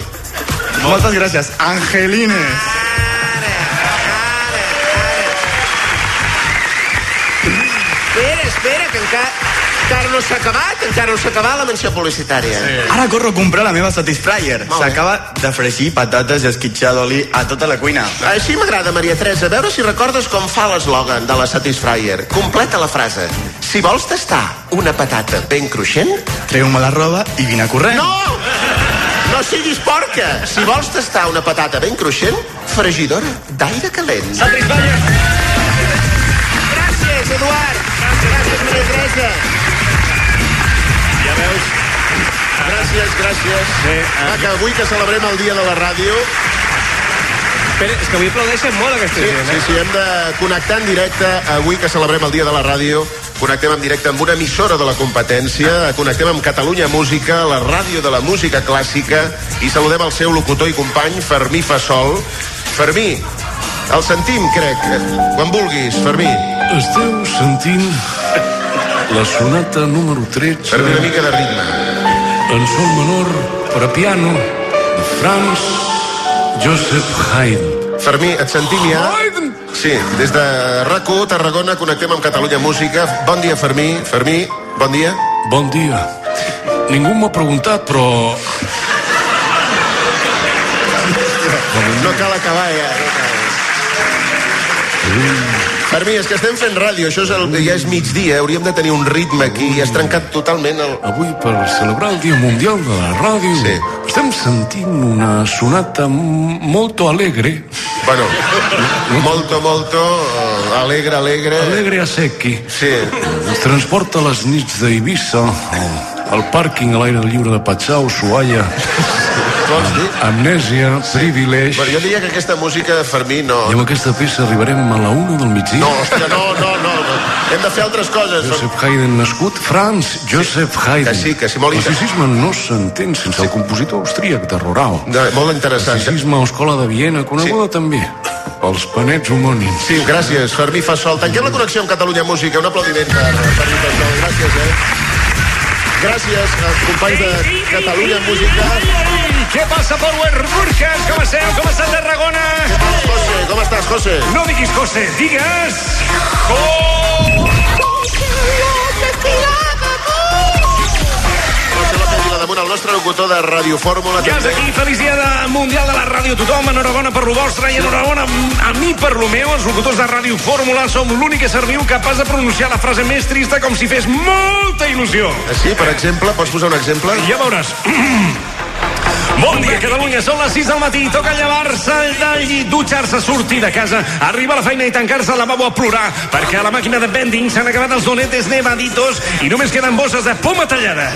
[SPEAKER 41] Moltes gràcies, Angelines.
[SPEAKER 2] Espera, espera, que encara, encara no s'ha acabat, encara no s'ha acabat la menció publicitària. Sí.
[SPEAKER 41] Ara corro a comprar la meva Satisfyer.
[SPEAKER 2] Molt bé.
[SPEAKER 41] S'acaba de fregir patates i esquitxar d'oli a tota la cuina.
[SPEAKER 2] Així m'agrada, Maria Teresa, a veure si recordes com fa l'eslògan de la Satisfyer. Completa la frase. Si vols tastar una patata ben cruixent...
[SPEAKER 41] Treu-me la roba i vine corrent.
[SPEAKER 2] No! No siguis porca! Si vols tastar una patata ben cruixent, fregidora d'aire calent.
[SPEAKER 20] Satisfyer! Gràcies, Eduard! Gràcies, Maria Teresa!
[SPEAKER 3] Ja veus?
[SPEAKER 2] Gràcies, gràcies.
[SPEAKER 7] eh.
[SPEAKER 2] Sí, ah, que avui que celebrem el dia de la ràdio...
[SPEAKER 7] Espera, és que avui aplaudeixen molt aquesta
[SPEAKER 2] Sí,
[SPEAKER 7] gent,
[SPEAKER 2] sí,
[SPEAKER 7] eh?
[SPEAKER 2] sí, hem de connectar en directe avui que celebrem el Dia de la Ràdio. Connectem en directe amb una emissora de la competència, connectem amb Catalunya Música, la ràdio de la música clàssica, i saludem el seu locutor i company, Fermí Fassol. Fermí, el sentim, crec. Quan vulguis, Fermí.
[SPEAKER 9] Esteu sentint la sonata número 13
[SPEAKER 2] Fer una mica de ritme.
[SPEAKER 9] en sol menor per a piano de Franz Joseph Haydn.
[SPEAKER 2] Fermí, et sentim ja? Sí, des de rac Tarragona, connectem amb Catalunya Música. Bon dia, Fermí. Fermí, bon dia.
[SPEAKER 9] Bon dia. Ningú m'ha preguntat, però...
[SPEAKER 2] No cal acabar, ja. no cal. Per mi, és que estem fent ràdio, això és el, ja és migdia, hauríem de tenir un ritme aquí, i has trencat totalment el...
[SPEAKER 9] Avui, per celebrar el Dia Mundial de la Ràdio, sí. estem sentint una sonata m- molto alegre.
[SPEAKER 2] Bueno, molto, molto, eh, alegre, alegre...
[SPEAKER 9] Alegre a secchi.
[SPEAKER 2] Sí.
[SPEAKER 9] Ens transporta a les nits d'Eivissa, al- al pàrquing a l'aire lliure de Patxau, Suaia,
[SPEAKER 2] Vols dir?
[SPEAKER 9] Amnèsia, Privilege...
[SPEAKER 2] Però jo diria que aquesta música, per mi, no...
[SPEAKER 9] I amb aquesta peça arribarem a la una del migdia.
[SPEAKER 2] No, hòstia, no, no, no, no. Hem de fer altres coses.
[SPEAKER 9] Joseph Haydn nascut, Franz Joseph Haydn. Que sí,
[SPEAKER 2] que sí, molt
[SPEAKER 9] Classicisme no s'entén sense el compositor austríac de Rorau.
[SPEAKER 2] De, molt interessant.
[SPEAKER 9] Classicisme a Escola de Viena, coneguda sí. també pels panets homònims.
[SPEAKER 2] Sí, gràcies, Fermí Fassol. Tanquem la connexió amb Catalunya Música. Un aplaudiment per Fermí Fassol. Gràcies, eh? Gràcies als companys de Catalunya Música.
[SPEAKER 3] Què passa, Power Burkes? Com esteu? Com està Tarragona?
[SPEAKER 2] José, com estàs, José?
[SPEAKER 3] No diguis José, digues...
[SPEAKER 2] José López Vilademunt, el nostre locutor de Radio Fórmula.
[SPEAKER 3] Ja és
[SPEAKER 2] també.
[SPEAKER 3] aquí, feliç dia de Mundial de la Ràdio a tothom, enhorabona per lo vostre i enhorabona a mi per lo meu. Els locutors de Ràdio Fórmula som l'únic que serviu capaç de pronunciar la frase més trista com si fes molta il·lusió.
[SPEAKER 2] Eh, Sí, per exemple, pots posar un exemple?
[SPEAKER 3] Ja veuràs. Bon dia, Catalunya. Són les 6 del matí. Toca llevar-se del llit, dutxar-se, sortir de casa, arribar a la feina i tancar-se al lavabo a plorar, perquè a la màquina de vending s'han acabat els donetes nevaditos i només queden bosses de poma tallada.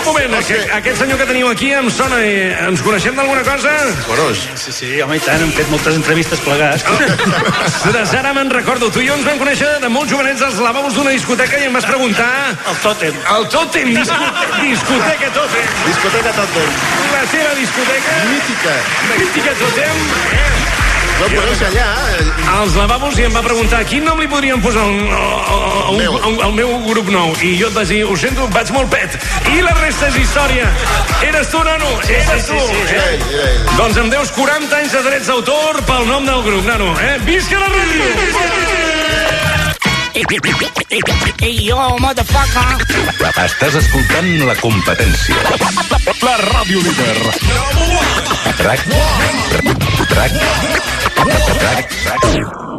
[SPEAKER 3] Un moment, aquest, aquest senyor que teniu aquí em sona... Eh, ens coneixem d'alguna cosa?
[SPEAKER 2] Corós.
[SPEAKER 41] Sí, sí, home, i tant, hem fet moltes entrevistes plegats.
[SPEAKER 3] Ostres, ara me'n recordo. Tu i jo ens vam conèixer de molt jovenets als lavabos d'una discoteca i em vas preguntar... El tòtem. El tòtem, discoteca, discoteca tòtem.
[SPEAKER 2] Discoteca tòtem.
[SPEAKER 3] La teva discoteca...
[SPEAKER 2] Mítica.
[SPEAKER 3] Mítica tòtem.
[SPEAKER 2] No podeu ser allà.
[SPEAKER 3] Als lavabos i em va preguntar quin nom li podríem posar al, al, al, al, al meu grup nou. I jo et vaig dir, ho sento, vaig molt pet. I la resta és història. Eres tu, nano,
[SPEAKER 2] Sí,
[SPEAKER 3] eres
[SPEAKER 2] sí,
[SPEAKER 3] tu.
[SPEAKER 2] sí, sí,
[SPEAKER 3] eh?
[SPEAKER 2] era ell, era ell.
[SPEAKER 3] Doncs em deus 40 anys de drets d'autor pel nom del grup, nano. Eh? Visca la ràdio!
[SPEAKER 20] Hey, yo, motherfucker.
[SPEAKER 21] Estàs escoltant la competència.
[SPEAKER 43] La ràdio líder.
[SPEAKER 21] RAC. RAC. RAC. RAC.